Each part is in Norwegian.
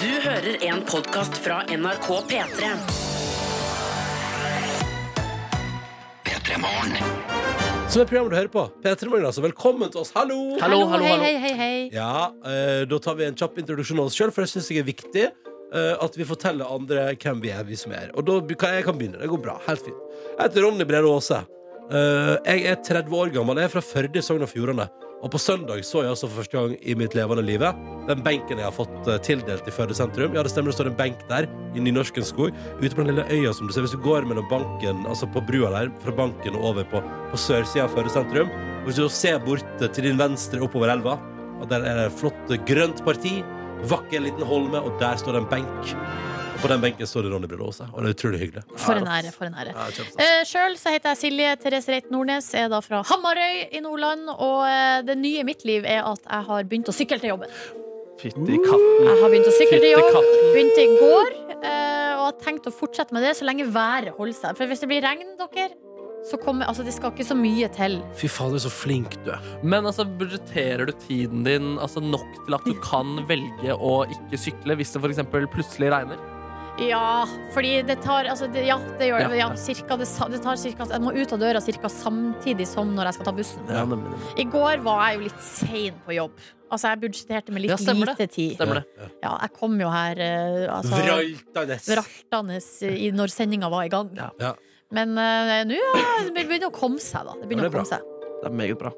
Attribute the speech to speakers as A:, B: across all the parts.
A: Du hører en podcast fra NRK P3.
B: Som er programmet du hører på. P3 Morgen, altså. Velkommen til oss. Hallo!
C: Hallo, hallo, hallo.
D: Hei, hei, hei, hei.
B: Ja, eh, Da tar vi en kjapp introduksjon av oss sjøl, for det syns jeg er viktig. eh, at vi forteller andre hvem vi er, vi som er. Og da be- kan jeg kan begynne. Det går bra. Helt fint. Jeg heter Ronny Brede Aase. Eh, jeg er 30 år gammel. Jeg er fra Førde i Sogn og Fjordane. Og på søndag så jeg altså for første gang i mitt levende live den benken jeg har fått eh, tildelt i Førde sentrum. Ja, det stemmer, det står en benk der i Nynorskens skog. Ute på den lille øya som du ser hvis du går mellom banken, altså på brua der, fra banken og over på, på sørsida av Førde sentrum. Og hvis du ser bort eh, til din venstre oppover elva, og der er det et flott grønt parti. Vakker liten holme, og der står det en benk. Og på den benken står det Ronny Brede Aase, og det er utrolig hyggelig.
D: For en
B: Ja,
D: ære, for en ære.
B: ja, kjempestas.
D: Eh, Sjøl så heter jeg Silje Therese Reit Nordnes, er da fra Hamarøy i Nordland. Og eh, det nye i mitt liv er at jeg har begynt å sykle til jobben.
C: Fytti katten.
D: Jeg har begynt å sykle til jobb,
C: Fyttekatten.
D: begynte i går, eh, og har tenkt å fortsette med det så lenge været holder seg. For hvis det blir regn, dere, så kommer Altså, det skal ikke så mye til.
B: Fy fader, så flink du er.
C: Men altså, budsjetterer du tiden din altså, nok til at du kan velge å ikke sykle hvis det for eksempel plutselig regner?
D: Ja, fordi det tar altså, det, Ja, det gjør det.
C: Ja.
D: Ja, cirka, det, sa- det tar cirka, jeg må ut av døra ca. samtidig som når jeg skal ta bussen.
C: Ja, nemlig. nemlig.
D: I går var jeg jo litt sein på jobb. Altså, jeg budsjetterte med litt
C: Ja, stemmer
D: lite tid.
C: Stemmer det.
D: Ja, jeg kom jo her eh, altså,
B: Vraltende.
D: vraltende i- når sendinga var i gang.
C: Ja.
B: Ja.
D: Men eh, nå ja, det begynner å komme seg, da. Det
B: Ja, det
D: begynner
B: er
D: å komme seg.
C: Det er meget bra.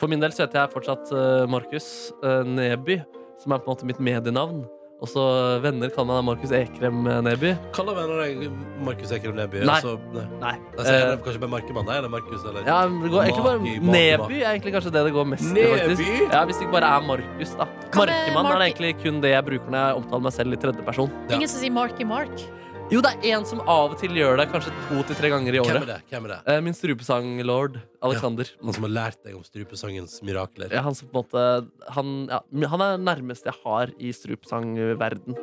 C: For min del så heter jeg fortsatt eh, Markus eh, Neby, som er på en måte mitt medienavn. Og så venner kaller meg da Markus Ekrem eh, Neby.
B: Kaller venner deg Markus Ekrem Neby.
C: Nei.
B: Altså, nei.
C: Nei.
B: Altså, er det kanskje bare Markemann, nei? Eller Markus, eller
C: Ja, det går egentlig bare
B: Maki, Maki, Maki.
C: Neby er egentlig kanskje det det går mest i, faktisk.
B: Neby?
C: Ja, Hvis det ikke bare er Markus, da.
D: Hva med
C: Markemann er det
D: Marki?
C: egentlig kun det jeg bruker når jeg omtaler meg selv i tredjeperson.
B: Ja.
D: Ingen som sier Marky Mark.
C: Jo, det er en som av og til gjør det kanskje to til tre ganger i
B: Hvem er
C: året.
B: det? Hvem er det?
C: Eh, Min strupesanglord Alexander.
B: Han som har lært deg om strupesangens mirakler.
C: Ja, han som på en måte Han, ja, han er nærmest jeg har i strupesangverden.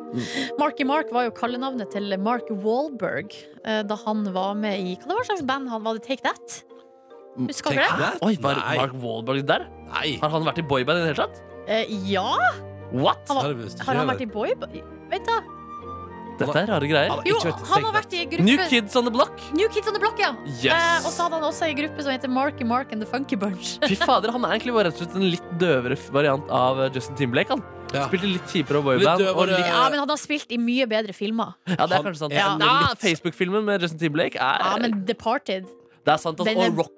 D: Marky Mark var jo kallenavnet til Mark Wahlberg eh, da han var med i Hva det var slags band han var? det Take That? Husker
B: Mm, Take
D: dere det?
B: that?
C: Oi, var
B: Nei.
C: Mark Wahlberg der?
B: Nei.
C: Har han vært i boyband i det hele tatt?
D: Eh, ja?
C: What?
D: Han var-
B: Har du visst ikke
D: Har han
B: det?
D: vært i boyband? Vent, da.
C: Dette er rare greier.
B: Han har
D: Jo,
B: ikke vært i
D: han
B: Take
D: har vært i en
C: New
D: gruppe
C: Kids on the Block.
D: New Kids on the Block, ja.
C: Yes.
D: Eh, og så hadde han også en gruppe som heter Marky Mark and the Funky Bunch.
C: Fy fader, Han er egentlig bare rett og slett en litt døvere variant av eh, Justin Timberlake. Han
B: That. Ja.
C: spilte litt kjipere
B: Litt
C: boyband.
B: døvere-
C: og litt,
D: Ja, men han har spilt i mye bedre filmer.
C: ja, det er
B: han
C: kanskje sant.
B: er
C: Ja,
B: litt-
C: Facebook-filmen med Justin Timberlake er
D: Ja, men Departed
C: Det er sant. Altså,
D: Den er-
C: og Rock,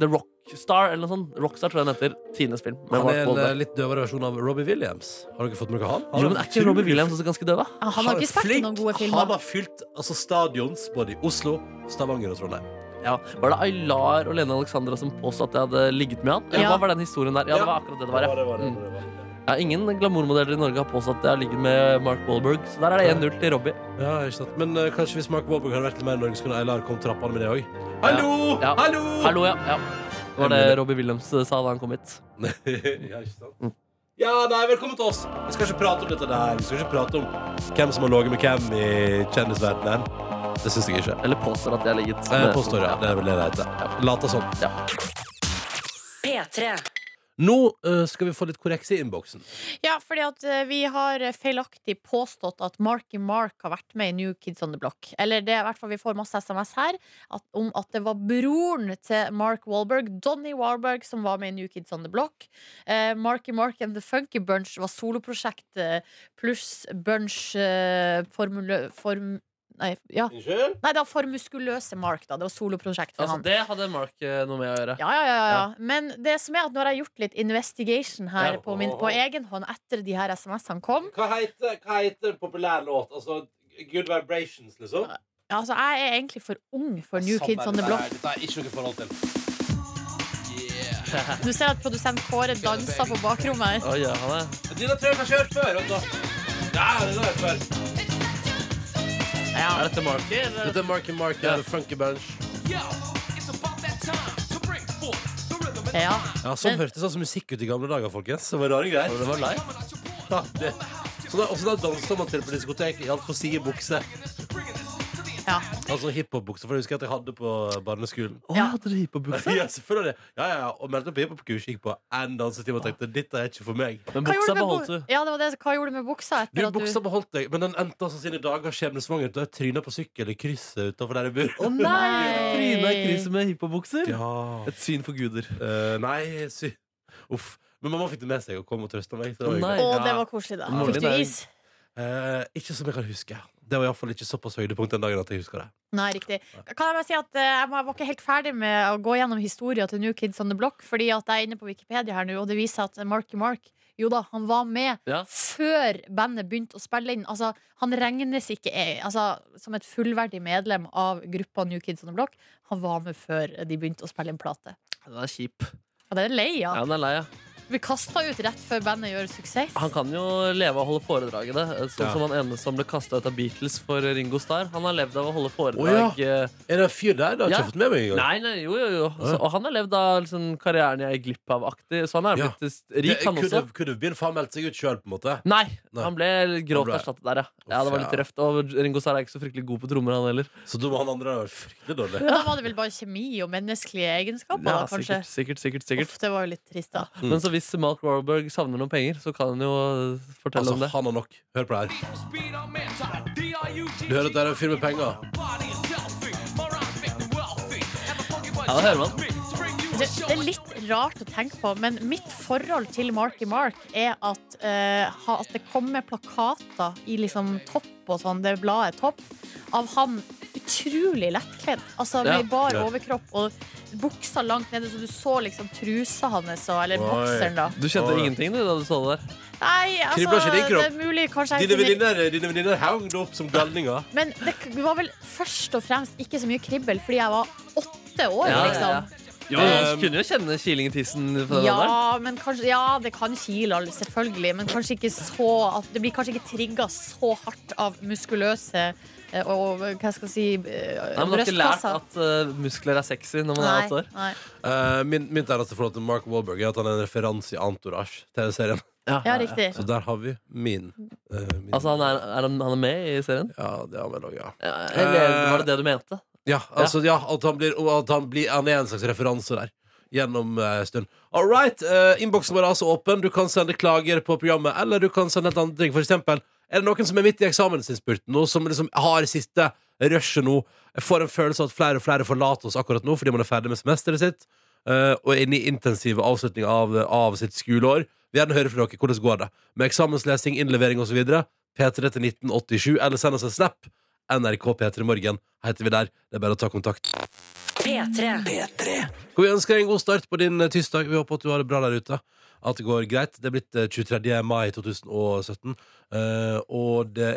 C: The Rockstar, eller noe sånt. Rockstar tror jeg den heter. Tines film. Med
B: Han
C: Mark
B: er en eh,
C: Wahlberg.
B: litt døvere versjon av Robbie Williams. Har dere fått med dere han? Han
C: Jo, men Er ikke Robbie Williams også ganske døv, da?
D: Ja, Han har ikke spilt i noen gode
B: Han
D: filmer.
B: har fylt altså, stadions både i Oslo, Stavanger og Trondheim.
C: Ja. Var det Aylar og Lene Alexandra som påstod at jeg hadde ligget med han? Eller
D: Ja.
C: hva var den historien der? Ja, det var akkurat det det var. Ja. Mm. Ja, ingen glamourmodeller i Norge har påstått at jeg har ligget med Mark Wahlberg, så der er det 1-0 til Robbie.
B: Ja, ikke sant. Men eh, kanskje hvis Mark Wahlberg hadde vært litt mer i Norge, så kunne Eilar kommet trappene med det òg. Hallo!
C: Ja.
B: Hallo!
C: Hallo, ja. ja. Det var det Robbie Williams eh, sa da han kom hit.
B: ja, ikke sant. Ja, nei, velkommen til oss. Vi skal ikke prate om dette der. Vi skal ikke prate om hvem som har ligget med hvem i kjendisverdenen. Det syns jeg ikke.
C: Eller påstår at jeg har ligget.
B: Jeg
C: med-
B: Eh, påstår ja. Det er vel det det heter. Later sånn.
A: P3.
B: Nå eh, skal vi få litt korreks i innboksen.
D: Ja, fordi at eh, vi har feilaktig påstått at Marky Mark har vært med i New Kids on the Block. Eller det er i hvert fall vi får masse SMS her at, om at det var broren til Mark Wahlberg, Donny Wahlberg, som var med i New Kids on the Block. Eh, Marky Mark and The Funky Bunch var soloprosjektet pluss Bunch eh, formule... Form, nei, ja.
B: Unnskyld?
D: nei, det var for muskuløse Mark, da. Det var soloprosjekt for
C: Altså,
D: han.
C: det hadde Mark eh, noe med å gjøre.
D: Ja, ja, ja, ja. Men det som er at nå har jeg gjort litt investigation her
B: Ja.
D: på, min, på egen hånd etter de her SMS-ene kom.
B: Hva heter, hva heter en populær låt? Altså Good Vibrations, liksom?
D: Altså, jeg er egentlig for ung for New Kids on the Block.
B: Dette er ikke noe forhold til.
D: Du ser at produsent Kåre danser på bakrommet her.
C: Oi, ja, han er.
B: Denne tror jeg kanskje jeg har hørt før. Vent, da. Ja, den har jeg hørt før.
C: er dette Marky? eller?
B: Dette er Marky Mark
C: Ja.
B: and the Funky Bunch.
D: Ja.
B: Ja, Sånn
D: Men-
B: hørtes altså musikk ut i gamle dager, folkens. Det var rare greier.
C: Det var live.
B: Ja, det. Så da, også da dansa man til på diskotek i altfor side bukse.
D: Ja.
B: Altså hiphop-bukse, for jeg husker at jeg hadde på barneskolen.
C: Å,
D: Ja.
C: hadde du hiphopbukse?
B: Ja, selvfølgelig. Ja, ja, ja. Og meldte meg på hiphop-kurs, gikk på én dansetime og tenkte dette er ikke for meg.
C: Men
D: Hva gjorde
C: buksa
D: du med bu-
C: beholdt du.
D: Ja, det var det. Hva gjorde du med
B: Du,
D: buksa etter at
B: Buksa
D: du
B: beholdt deg, men den endte altså sine dager skjebnesvangert da jeg tryna på sykkel i krysset utafor der jeg bor.
C: Å
D: Nei.
C: Trine i krise med hiphopbukser.
B: Ja.
C: Et syn for guder.
B: Eh, nei, sy... Uff. Men mamma fikk det med seg og kom og trøsta meg. Så det var
C: Å, nei.
B: hyggelig.
D: Å,
B: Ja.
D: det var koselig, da.
C: Molly,
D: Fikk du
C: det er-
D: is?
B: Eh, ikke som jeg kan huske. Det var iallfall ikke såpass høydepunkt den dagen at jeg husker det.
D: Nei, riktig. Kan jeg bare si at eh, jeg var ikke helt ferdig med å gå gjennom historia til New Kids on the Block, fordi at jeg er inne på Wikipedia her nå, og det viser at Marky Mark jo da, han var med
C: Ja.
D: før bandet begynte å spille inn. Altså, han regnes ikke eh, altså, som et fullverdig medlem av gruppa New Kids on the Block. Han var med før de begynte å spille inn plate.
C: Den er kjip.
D: Og det er lei
C: Ja,
D: av.
C: den er lei, ja.
D: Vi kasta ut rett før bandet gjør suksess.
C: Han kan jo leve av å holde foredrag i det. Sånn
B: Ja.
C: som han ene som ble kasta ut av Beatles for Ringo Starr. Han har levd av å holde foredrag.
B: Å,
C: eh,
B: Er det en fyr der? Det har jeg
C: Ja.
B: ikke fått med meg engang.
C: Nei, nei, jo, jo, jo. Så, og han har levd av liksom, karrieren jeg gikk glipp av-aktig. Så han er
B: Ja.
C: blitt eh, rik, han også.
B: Kunne begynne for han meldte seg ut sjøl, på en måte.
C: Nei,
B: Nei.
C: han ble grovt
B: Han
C: erstattet der, ja. ja. Det var litt
B: ja.
C: røft. Og Ringo Starr er ikke så fryktelig god på trommer, han heller.
B: Så da må han andre ha vært fryktelig dårlig.
D: Da var det vel bare kjemi og menneskelige egenskaper, da,
C: Ja,
D: kanskje.
C: sikkert, sikkert, sikkert, sikkert.
D: Uff, det var jo litt trist, da.
B: Mm.
C: Men så hvis Mark Warburg savner noen penger, så kan han jo eh, fortelle
B: Altså,
C: om det.
B: han har nok. Hør på det her. Du hører at det er en fyr med penger.
C: Ja, det hører man.
D: Det, det er litt rart å tenke på, men mitt forhold til Marky Mark er at, eh, ha- at det kommer plakater i liksom Topp og sånn, det bladet Topp, av han utrolig lettkledd. Altså
C: Ja.
D: med bar
B: Ja.
D: overkropp og buksa langt nede, så du så liksom trusa hans, og- eller
B: Oi.
D: bokseren, da.
C: Du kjente
B: Å, ja.
C: ingenting du, da du så det der?
D: Nei,
B: Kribler
D: altså,
B: ikke din
D: det
B: kropp?
D: er mulig kanskje jeg
B: Dine
D: kunne-
B: venninner eh, dine venninner hang det opp som galninger.
D: Men det k- var vel først og fremst ikke så mye kribbel, fordi jeg var åtte år,
C: Ja, ja, ja.
D: liksom.
C: Jo,
B: Um,
C: du kunne jo kjenne kilingen i tissen. på den alderen.
D: Ja, men kanskje, ja, det kan kile, alle, selvfølgelig. Men kanskje ikke så at Det blir kanskje ikke trigga så hardt av muskuløse eh, og hva skal jeg si eh,
C: Nei, men Har ikke lært
D: brystkasser.
C: at eh, muskler er sexy når man er åtte
D: Nei,
C: år?
D: nei.
B: Eh, min, mitt eneste forhold til Mark Wahlberg er at han er en referanse i Entourage. TV-serien
D: Ja, riktig.
B: Så der har vi min. eh, min.
C: Altså, han er, er han, han er med i serien?
B: ja, det har vi nok, ja.
C: Ja, Eller
B: Eh,
C: var det det du mente?
B: Ja, altså, ja at, han blir, og at han blir Han er en slags referanse der Gjennom eh, stund All right, eh, innboksen vår er altså åpen Du kan sende klager på programmet Eller du kan sende et annet ting For eksempel Er det noen som er midt i eksamensinspurten nå Som liksom har siste rushet nå Jeg får en følelse av at flere og flere forlater oss akkurat nå Fordi man er ferdig med semesteret sitt eh, Og er inne i intensive avslutning av, av sitt skoleår Vi gjerne hører fra dere hvordan går det Med eksamenslesing, innlevering og så videre P3 til 1987 Eller send oss en snap NRK P3 Morgen heter vi der. Det er bare å ta kontakt.
A: P3.
B: Skal vi ønske deg en god start på din eh, tirsdag. Vi håper at du har det bra der ute. At det går greit. Det er blitt eh, 23. mai 2017, eh, og det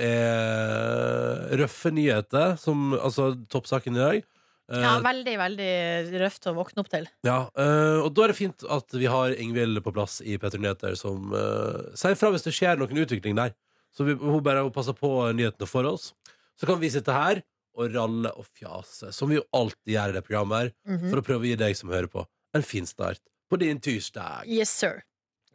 B: er røffe nyheter, som altså toppsaken i dag. Eh,
D: Ja, veldig, veldig røft å våkne opp til.
B: ja, eh, og da er det fint at vi har Ingvild på plass i P3 Nyheter, som eh, sier fra hvis det skjer noen utvikling der. Så vi, hun bare passer på nyhetene for oss. Så kan vi sitte her og ralle og fjase, som vi jo alltid gjør i det programmet her,
D: Mhm.
B: for å prøve å gi deg som hører på, en fin start på din tirsdag.
D: Yes, sir.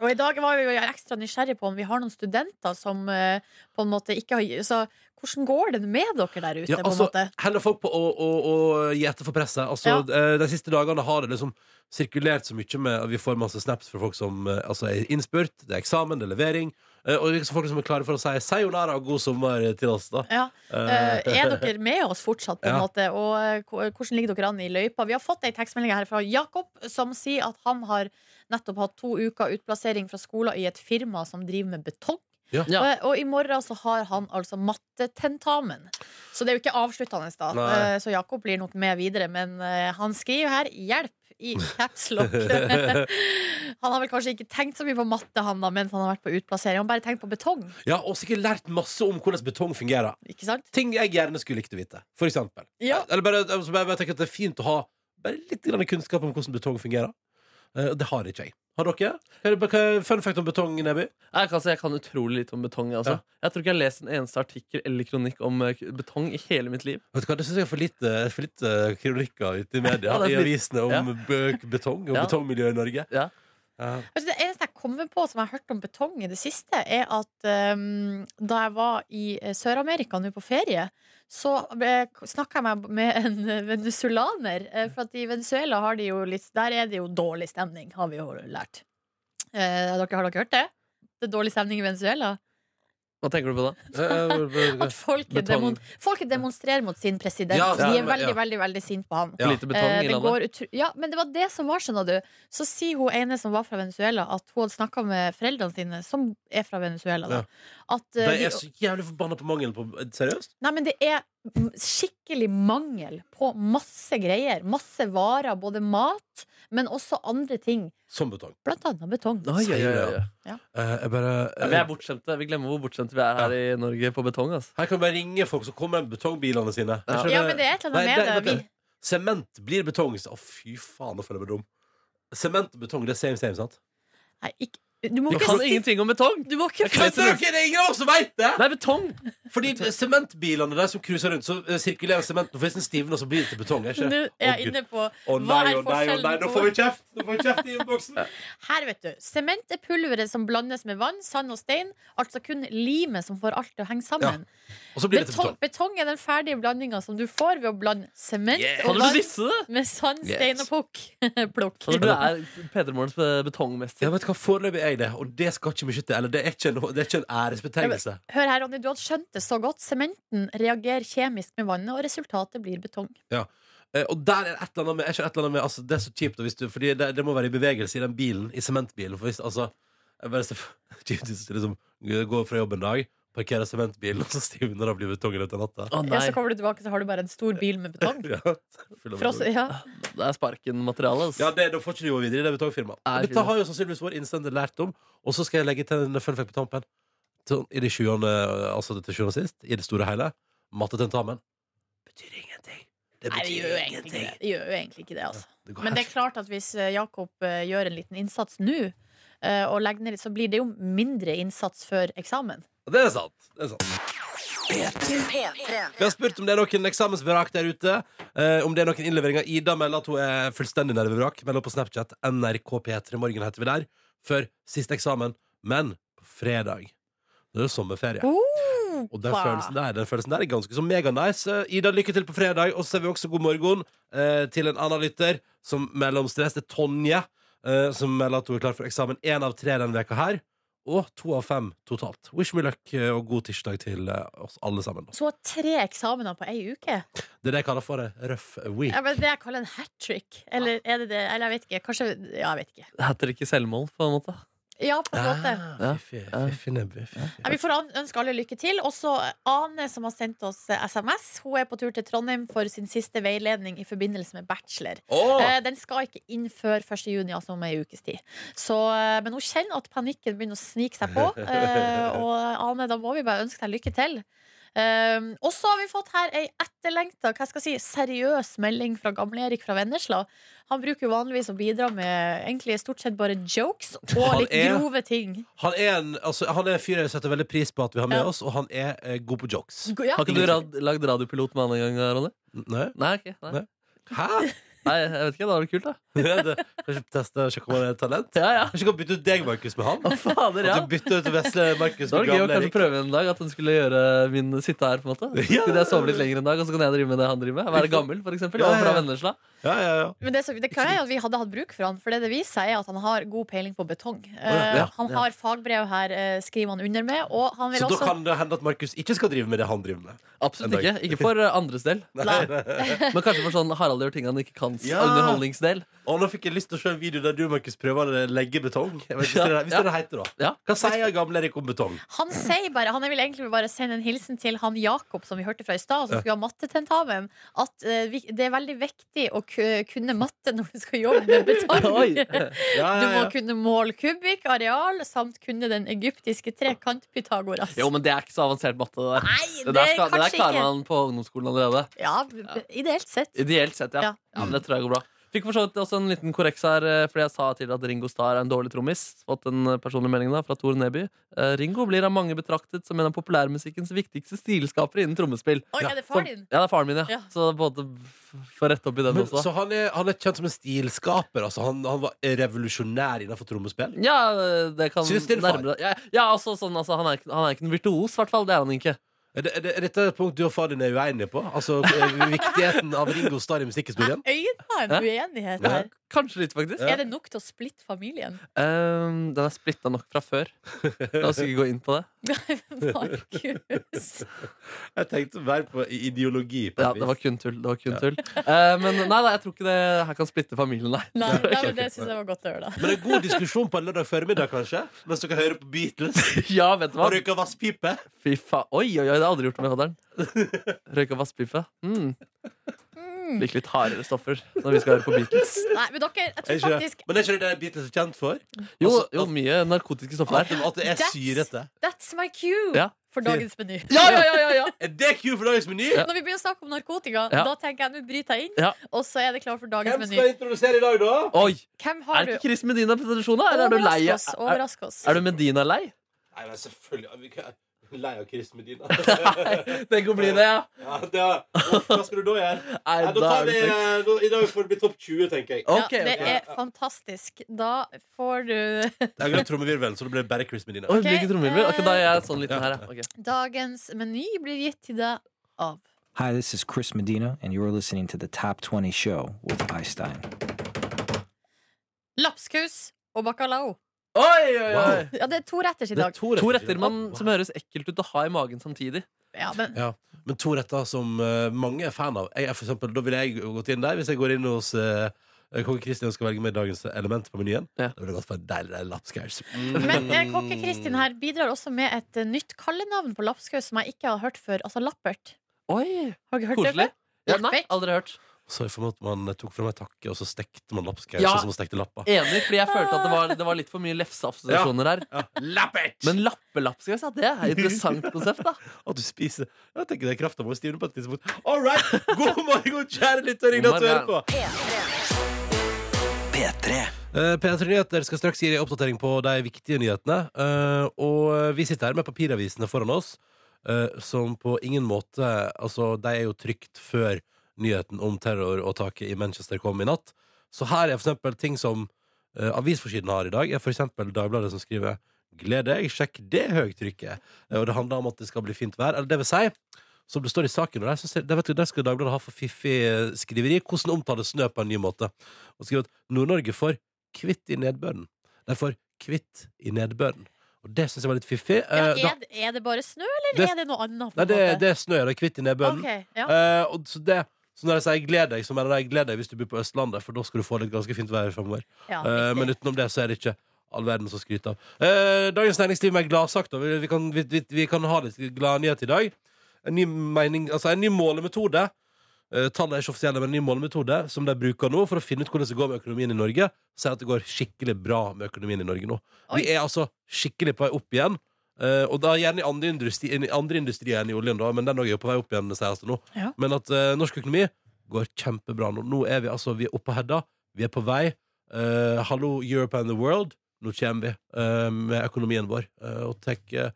D: Og i dag var vi jo ekstra nysgjerrig på om vi har noen studenter som eh, på en måte ikke har Så hvordan går det med dere der ute,
B: Ja,
D: på en
B: altså,
D: måte?
B: heller folk på å, å, å gi etter for presset. Altså, eh, De siste dagene har det liksom sirkulert så mye med Vi får masse snaps fra folk som eh, altså, er innspurt, det er eksamen, det er levering. eh, Og liksom folk som er klare for å si sayonara og god sommer til oss, da.
D: Ja.
B: Eh,
D: Eh, er dere med oss fortsatt, på en
B: Ja.
D: måte? Og eh, ko- hvordan ligger dere an i løypa? Vi har fått ei tekstmelding her fra Jakob, som sier at han har nettopp hatt to uker utplassering fra skolen i et firma som driver med betong.
C: Ja.
D: Eh, Og i morgen så har han altså mattetentamen. Så det er jo ikke avsluttende, da.
B: Nei.
D: Eh, Så Jakob blir nok med videre. Men eh, han skriver her 'hjelp' i caps lock. han har vel kanskje ikke tenkt så mye på matte han da mens han har vært på utplassering. Han har bare tenkt på betong.
B: ja, og sikkert lært masse om hvordan betong fungerer.
D: Ikke sant?
B: Ting jeg gjerne skulle likt å vite. For eksempel.
D: Ja.
B: Eller bare, altså, bare, bare tenk at det er fint å ha bare litt grann kunnskap om hvordan betong fungerer. Eh, det har ikke jeg. Har dere? Hva er, det- hva er fun fact om betong, Neby?
C: Nei, Jeg kan, si jeg kan utrolig lite om betong. Altså.
B: Ja.
C: Jeg tror ikke jeg har lest en eneste artikkel eller kronikk om eh, k- betong i hele mitt liv.
B: Vet du hva, Det syns jeg er for lite, for lite kronikker ute i media,
C: Ja, det
B: i
C: er for lite.
B: avisene, om bøk, betong og
C: Ja.
B: betongmiljøet i Norge. Eh,
C: Ja.
B: Ja.
D: Altså, det eneste jeg kommer på som jeg har hørt om betong i det siste, er at ehm, da jeg var i eh, Sør-Amerika nå på ferie, så snakka jeg meg med en eh, venezuelaner. eh, For at i Venezuela har de jo litt Der er det jo dårlig stemning, har vi jo lært. Eh, dere, har dere hørt det? Det er dårlig stemning i Venezuela.
C: Hva tenker du på da?
B: Eh,
D: At folk,
C: Betong.
D: demon, folk demonstrerer mot sin president.
B: Ja,
D: de
B: ja,
D: er veldig,
B: ja.
D: veldig, veldig sinte på han.
B: Ja.
C: For lite betong
D: Eh,
C: i
D: det
C: landet?
D: går utro- ja, men det var det som var, skjønner du. Så sier hun ene som var fra Venezuela, at hun hadde snakka med foreldrene sine, som er fra Venezuela, da.
B: Ja.
D: At, eh,
B: De er
D: de,
B: så jævlig forbanna på mangelen på eh, Seriøst?
D: nei, men det er m- skikkelig mangel på masse greier. Masse varer, både mat, men også andre ting.
B: Som betong.
D: Blant annet betong.
C: Oi, oi, oi, oi.
B: Eh, jeg bare
C: Ja, vi er bortskjemte. Vi glemmer hvor bortskjemte vi er her i Norge på betong. altså. ass.
B: Her kan vi bare ringe folk som kommer med betongbilene sine. Jeg
C: Ja.
B: skjønner-
D: Ja, men det er et eller
B: Nei,
D: annet
B: det-
D: med det.
B: vet du-
D: Vi,
B: Sement blir betong. Å, fy faen, nå føler jeg meg dum. Sement og betong, det er same, same, sant?
D: nei, ikke, du må
C: Du
D: ikke
C: kan
D: si
C: ingenting om betong!
D: Du må ikke
B: Vet dere, det er ingen av oss som veit det!
C: Nei, betong!
B: Fordi sementbilene der som cruiser rundt, så eh, sirkulerer sementen og forresten stivner, og så blir det til betong. Er ikke?
D: Nå
B: det? Å,
D: er jeg
B: Gud.
D: inne på
B: Å
D: Hva
B: nei,
D: er
B: å nei, å nei,
D: forskjellen
B: nå
D: på-
B: får vi kjeft! Nå får vi kjeft i innboksen!
D: Her, vet du. Sement er pulveret som blandes med vann, sand og stein. Altså kun limet som får alt til å henge sammen.
B: Og så blir det til
D: Betong,
B: betong.
D: betong er den ferdige blandinga som du får ved å blande sement
B: Yeah.
D: og
C: Kan du
D: vann
C: disse det?
D: med sand, stein og pukk. Plukk.
C: Altså, du er P3 Morgens be- betongmester.
B: Jeg vet hva, Foreløpig er jeg det, og det skal ikke mye til. Eller det er ikke en, det er ikke en æresbetegnelse.
D: Hør her, Ronny, du hadde skjønt det så godt. Sementen reagerer kjemisk med vannet, og resultatet blir betong.
B: Eh, og der er det et eller annet med, er ikke et eller annet med altså, Det er så kjipt, og hvis du, fordi det, det må være i bevegelse i den bilen, i sementbilen. For hvis altså jeg bare ser for- kjipt hvis du liksom går fra jobb en dag, parkerer sementbilen, og så stivner det og blir betongen ut av natta.
D: Ja,
C: Å nei,
D: så kommer du tilbake, så har du bare en stor bil med betong.
B: Ja, full av
D: Fross,
B: betong.
D: ja.
C: det er sparken-materiale. ass.
B: ja det, da får ikke du gå videre i det betongfirmaet.
C: Nei,
B: Dette har jo sannsynligvis vår innstendige lært om, og så skal jeg legge til en fun fact på tampen. Sånn, I det sjuende, altså til sjuende og sist, i det store og hele, mattetentamen betyr ingenting. Det
D: Nei, det gjør jo egentlig ikke det. det, gjør jo egentlig ikke det altså.
B: Det går
D: Men det er
B: helt-
D: klart at hvis eh, Jakob eh, gjør en liten innsats nå, eh, og legger ned litt, så blir det jo mindre innsats før eksamen.
B: det er sant. Det er sant.
A: P3.
B: Vi har spurt om det er noen eksamensvrak der ute. eh, om det er noen innleveringer. Ida melder at hun er fullstendig nervevrak. Melder på Snapchat NRK P3 Morgen heter vi der. Før siste eksamen. Men på fredag. Det er jo sommerferie. Og den følelsen der, den følelsen der er ganske så meganice. Eh, Ida, lykke til på fredag. Og så sier vi også god morgen eh, til en annen lytter som melder om stress. Det er Tonje eh, som melder at hun er klar for eksamen én av tre denne veka her. Og to av fem totalt. Wish me luck eh, og god tirsdag til eh, oss alle sammen. da.
D: Så tre eksamener på ei uke?
B: Det er det jeg kaller for en røff week.
D: Ja, men det jeg kaller en hat trick. Eller er det det? Eller jeg vet ikke. Kanskje Ja, jeg vet ikke.
C: Hatter ikke selvmål, på en måte.
D: Ja, på en måte.
B: Ah, fiffig, fiffig nebbe, fiffig.
D: Ja, vi får an- ønske alle lykke til. Også Ane, som har sendt oss eh, SMS. Hun er på tur til Trondheim for sin siste veiledning i forbindelse med bachelor.
B: Åh!
D: Eh, Den skal ikke inn før 1. juni, altså om ei ukes tid. Så, eh, men hun kjenner at panikken begynner å snike seg på. eh, Og Ane, da må vi bare ønske deg lykke til. Um, og så har vi fått her ei etterlengta, hva skal jeg si, seriøs melding fra gamle-Erik fra Vennesla. Han bruker jo vanligvis å bidra med egentlig stort sett bare jokes og
B: Han
D: litt
B: er-
D: grove ting.
B: Han er en altså, han er en fyr jeg setter veldig pris på at vi har med
D: Ja.
B: oss, og han er eh, god på jokes.
D: Go- Ja.
C: Har ikke du rad lagd radiopilot med han en gang, Ronny?
B: Nei?
C: Nei, ok, nei.
B: Nei. Hæ?
C: nei, jeg vet ikke. Det hadde vært kult, da.
B: det, kanskje teste og sjekke om han er et talent?
C: Ja, ja.
B: Kanskje vi kan bytte ut deg, Markus, med han?
C: Å, fader, ja.
B: At du bytter ut vesle Markus
C: Det var
B: med
C: gøy å
B: gamle
C: kanskje
B: Erik?
C: prøve en dag at hun skulle gjøre min sitte her. på en måte Så
B: Ja.
C: Skulle jeg sove litt lenger en dag, og så kan jeg drive med det han driver med? Være gammel, for eksempel. Og
B: Ja, ja,
C: fra
B: ja.
C: Vennesla.
B: Ja, ja, ja.
D: Men det, som- det kan jeg at vi hadde hatt bruk for han, for det det viser seg er at han har god peiling på betong.
B: ja,
D: Eh,
B: ja,
D: han
C: ja.
D: har fagbrev her, eh, skriver han under med, og han vil
B: Så da
D: også
B: kan det hende at Markus ikke skal drive med det han driver med. En
C: Absolutt
B: dag.
C: ikke. Ikke for eh, andres del.
D: Nei.
C: Men kanskje for sånn Harald gjør ting han ikke kan.
B: Ja.
C: Underholdningsdel.
B: Og nå fikk jeg lyst til å se en video der du, Markus, prøver å legge betong. Jeg vet, hvis,
C: Ja,
B: det, er- hvis det er det heter, da.
C: Ja.
B: Hva sier gamle Erik om betong?
D: Han sier bare, han vil egentlig bare sende en hilsen til han Jakob som vi hørte fra i stad, som
B: Ja.
D: skulle ha mattetentamen, at eh, vi- det er veldig viktig å ku- kunne matte når du skal jobbe med
C: Oi.
D: betong.
B: Ja,
D: Du
B: ja,
D: må
B: ja.
D: kunne måle kubikk, areal, samt kunne den egyptiske trekant Pythagoras.
C: Jo, men det er ikke så avansert matte, det der.
D: Nei,
C: Det der, skal, det der
D: kanskje
C: klarer
D: ikke.
C: man på ungdomsskolen allerede.
D: Ja, b- ideelt sett.
C: Ideelt sett, ja.
D: Ja.
C: ja. Men det tror jeg går bra. Fikk for så vidt også en liten korreks her, eh, fordi jeg sa til at Ringo Starr er en dårlig trommis. Fått en eh, personlig melding da, fra Tor Neby. Eh, Ringo blir av mange betraktet som en av populærmusikkens viktigste stilskapere innen trommespill.
D: Oi,
B: Ja,
D: er det
C: Som-
D: far din?
C: Ja, det er faren min, ja.
D: Ja.
C: Så både få rette opp i den
B: Men,
C: også.
B: så han er, han er kjent som en stilskaper. Altså. Han, han var revolusjonær innenfor trommespill.
C: Ja, det kan
B: Syns din far?
C: nærmere ja, ja, altså sånn, altså, han, er ikke, han er ikke en virtuos, i hvert fall. Det er han ikke.
B: Er, det, er, det, er dette et punkt du og far din er uenige på? Altså eh, Viktigheten av Ringo Starr i musikkhistorien?
D: Øyna en
C: Hæ?
D: uenighet
B: Ja.
D: her.
C: Kanskje litt, faktisk.
D: Er det nok til å splitte familien?
C: Ehm, den er splitta nok fra før. La oss ikke gå inn på det.
D: Markus.
B: Jeg tenkte mer på i- ideologi. På
C: Ja,
B: et
C: Det var
B: vis.
C: kun tull. Det var kun tull. Eh, men nei, nei, jeg tror ikke det her kan splitte familien, nei.
D: Nei,
B: ok,
D: nei,
B: ok.
D: men det syns jeg var godt å høre, da.
B: Men en god diskusjon på en lørdag formiddag, kanskje? Mens dere hører på Beatles
C: Ja, vet du hva?
B: og røyker vasspipe.
C: Fy faen. Oi, oi, oi, det har jeg aldri gjort med fadderen. Røyka vasspipe. Mm.
D: Mm.
C: Liker litt hardere stoffer når vi skal høre på Beatles.
D: Nei, men dere, jeg
B: Er
D: tror
B: ikke det?
D: faktisk
B: Men er ikke det det Beatles er kjent for?
C: Jo,
B: Altså,
C: jo mye narkotiske stoffer
B: At,
C: der.
B: at det er
D: That's-
B: syrete.
D: That's my cue
C: Ja.
D: for dagens meny.
C: Ja, ja, ja, ja, ja.
B: Er det Q for dagens meny?
C: Ja.
D: Når vi begynner å snakke om narkotika,
C: Ja.
D: da tenker jeg nå bryter jeg inn,
C: Ja.
D: og så er det klar for dagens
B: Hvem
D: meny.
B: skal introdusere i dag, da?
C: Oi!
D: Hvem
C: Er
D: har
C: det
D: du?
C: ikke Chris Medina på tradisjonen, da? Eller er du lei?
D: Overrask oss.
C: Er,
D: Overrask oss.
C: er du Medina-lei?
B: Nei, men selvfølgelig er vi ikke- Lei av Chris Medina.
C: Nei, det kan bli det, ja.
B: Ja, det er, Uff, hva skal du da gjøre?
C: Nei,
B: Nei, da
C: da
B: tar
C: er
B: vi,
C: det sex.
B: eh, da, I dag får det bli topp 20, tenker jeg.
C: Ok,
D: ja, det
C: ok.
D: er fantastisk. Da får du
B: Jeg glemte trommevirvelen, så det ble bare Chris Medina.
C: Oi,
D: Ok,
C: blir ikke trommevirvel? Ok, da er jeg
B: ja.
C: sånn liten her, eh, ja. Ok.
D: Dagens meny blir gitt til deg av
E: Hi, this is Chris Medina, and you're listening to the Top 20 Show with Einstein.
D: lapskaus og bacalao.
C: Oi, oi, oi!
B: Wow.
D: Ja, det er to retters i dag.
C: To retter man, som høres ekkelt ut å ha i magen samtidig.
D: Ja, men
B: Ja, men to retter som eh, mange er fan av. Jeg, er for eksempel, da ville jeg jo gått inn der hvis jeg går inn hos uh, Kong Kristian og skal velge med dagens element på menyen.
C: Ja.
B: Da ville jeg gått for en deilig deilig lapskaus.
D: Men eh, kokke Kristin her bidrar også med et eh, nytt kallenavn på lapskaus som jeg ikke har hørt før. Altså Lappert.
C: Oi,
D: Har dere hørt det
C: Koselig.
D: før?
C: Ja, nei,
D: Lappekk.
C: aldri hørt.
B: Så jeg for meg at man tok fram ei takke, og så stekte man lapskaus.
C: Ja.
B: sånn Som man stekte lappa.
C: Enig, fordi jeg følte at det var, det var litt for mye lefseassosiasjoner her.
B: Lappert!
C: Men lappelapskaus, ja, det er et interessant konsept, da.
B: At du spiser Jeg tenker det er krafta må stivne på et tidspunkt. All right! God morgen, kjære lytter! Hyggelig at du hører på. Eh, P3 Nyheter skal straks gi deg oppdatering på de viktige nyhetene. Eh, og vi sitter her med papiravisene foran oss, eh, som på ingen måte Altså, de er jo trygt før nyheten om terroråtaket i Manchester kom i natt. Så her er for eksempel ting som uh, avisforsiden har i dag, er for eksempel Dagbladet som skriver Gled deg, sjekk det høytrykket. Eh, Og det handler om at det skal bli fint vær. Eller det vil si, som det står i saken, og der, synes jeg, der, vet du, der skal Dagbladet ha for fiffig eh, skriveri. Hvordan omtale snø på en ny måte. Og skrive at Nord-Norge får kvitt i nedbøren. De får kvitt i nedbøren. Og det syns jeg var litt fiffig.
D: Ja,
B: Eh, da,
D: er, det- er det bare snø, eller
B: Det-
D: er det noe annet? på
B: nei,
D: en
B: det,
D: måte?
B: det er snø, det er kvitt i nedbøren.
D: Ok, ja.
B: Eh, og så, det, så når jeg sier 'gled deg', så mener jeg 'gled deg hvis du bor på Østlandet', for da skal du få litt ganske fint vær framover.
D: Ja,
B: Eh,
D: riktig.
B: men utenom det så er det ikke all verden å skryte av. Eh, Dagens Næringsliv med gladsak, da. Vi, vi, kan, vi, vi, vi kan ha litt gladnyhet i dag. En ny, mening, altså en ny målemetode. eh, tallene er ikke offisielle, men en ny målemetode som de bruker nå for å finne ut hvordan det går med økonomien i Norge, sier at det går skikkelig bra med økonomien i Norge nå.
D: Oi.
B: Vi er altså skikkelig på vei opp igjen. eh, og da gjerne i andre, industri, i andre industrier enn i oljen, da, men den også er jo på vei opp igjen, sies det nå.
D: Ja.
B: Men at eh, norsk økonomi går kjempebra nå. Nå er vi altså vi er oppe og hedda. Vi er på vei. Eh, Hallo, Europe and the world. Nå kommer vi eh, med økonomien vår. eh, og tek, eh,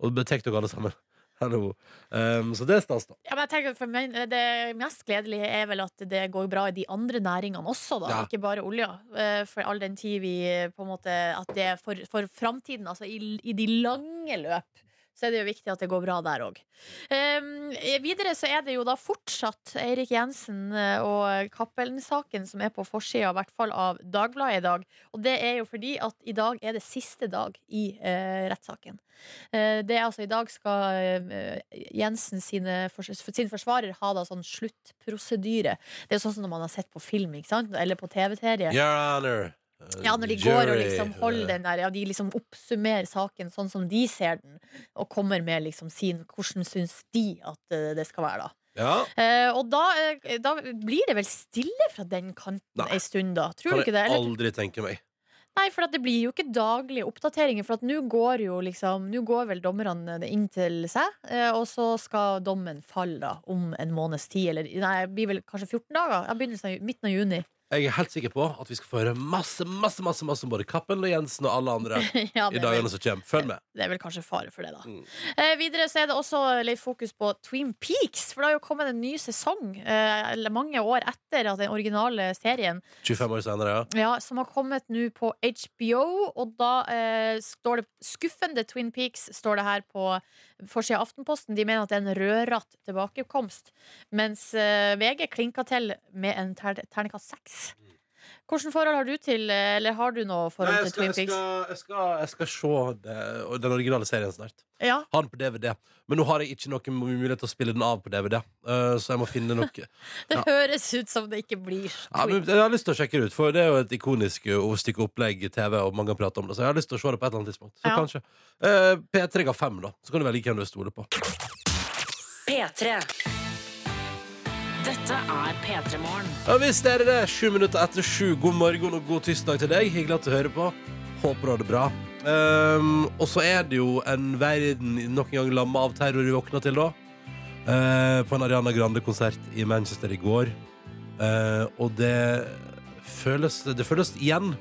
B: og betek dere alle sammen. Hallo. Um, så det er stas, da.
D: Ja, men jeg tenker for meg, Det mest gledelige er vel at det går bra i de andre næringene også, da.
B: Ja.
D: Ikke bare olja. Eh, For all den tid vi eh, på en måte At det er for, for framtiden, altså i, i de lange løp, så er det jo viktig at det går bra der òg. videre så er det jo da fortsatt Eirik Jensen eh, og Cappelen-saken som er på forsida, i hvert fall av Dagbladet i dag. Og det er jo fordi at i dag er det siste dag i eh, rettssaken. Eh, Det er altså I dag skal eh, Jensen sine, fors- sin forsvarer ha da sånn sluttprosedyre. Det er jo sånn som når man har sett på film ikke sant? eller på TV-serie.
B: Your honor. eh,
D: Ja, Når de går og
B: jury,
D: liksom holder den der, ja, de liksom oppsummerer saken sånn som de ser den, og kommer med liksom sin Hvordan syns de at eh, det skal være, da?
B: eh, Ja.
D: Eh, og da, eh, da blir det vel stille fra den kanten
B: Nei.
D: ei stund, da? Tror
B: Kan
D: du
B: jeg
D: ikke det? Eller
B: aldri tenke meg.
D: Nei, for at det blir jo ikke daglige oppdateringer. For at nå går jo liksom Nå går vel dommerne det inn til seg, eh, og så skal dommen falle da om en måneds tid, eller nei, det blir vel kanskje 14 dager? Ja, begynnelsen av ju- midten av juni.
B: Jeg er helt sikker på at vi skal få høre masse masse, masse, masse om både Kappen og Jensen og alle andre
D: Ja,
B: i
D: det, er
B: dagene
D: vel,
B: som kommer. Følg med.
D: det er vel kanskje fare for det, da.
B: Mm.
D: Eh, videre så er det også litt fokus på Twin Peaks, for det har jo kommet en ny sesong eh, eller mange år etter at den originale serien,
B: 25 år senere, ja.
D: ja, som har kommet nå på HBO. Og da eh, står det 'Skuffende Twin Peaks' står det her på forsida av Aftenposten. De mener at det er en rødratt tilbakekomst, mens eh, VG klinka til med en ter terningkast seks. Hvilket forhold har du til, eh, eller har du noe forhold
B: Nei, jeg,
D: til
B: skal,
D: Twin
B: jeg, skal,
D: Peaks?
B: jeg, skal, jeg skal se det, og den originale serien snart.
D: Ja,
B: Ha den på DVD. Men nå har jeg ikke noen mulighet til å spille den av på DVD. eh, så jeg må finne noe ja,
D: det
B: Ja.
D: høres ut som det ikke blir
B: men Jeg har lyst til å sjekke det ut, for det er jo et ikonisk eh, stykke opplegg i TV. Og mange har pratet om det Så jeg har lyst til å se det på et eller annet tidspunkt. Så
D: Ja.
B: kanskje Eh, P3 ga fem, da. Så kan du velge hvem du stoler på.
A: P3. Dette er P3 Morgen.
B: Og hvis det er det, sju minutter etter sju, god morgen og god tirsdag til deg. Hyggelig at du hører på. Håper du har det bra. Ehm, og så er det jo en verden nok en gang lamma av terror vi våkna til, da. Eh, på en Ariana Grande-konsert i Manchester i går. Eh, og det føles, det føles igjen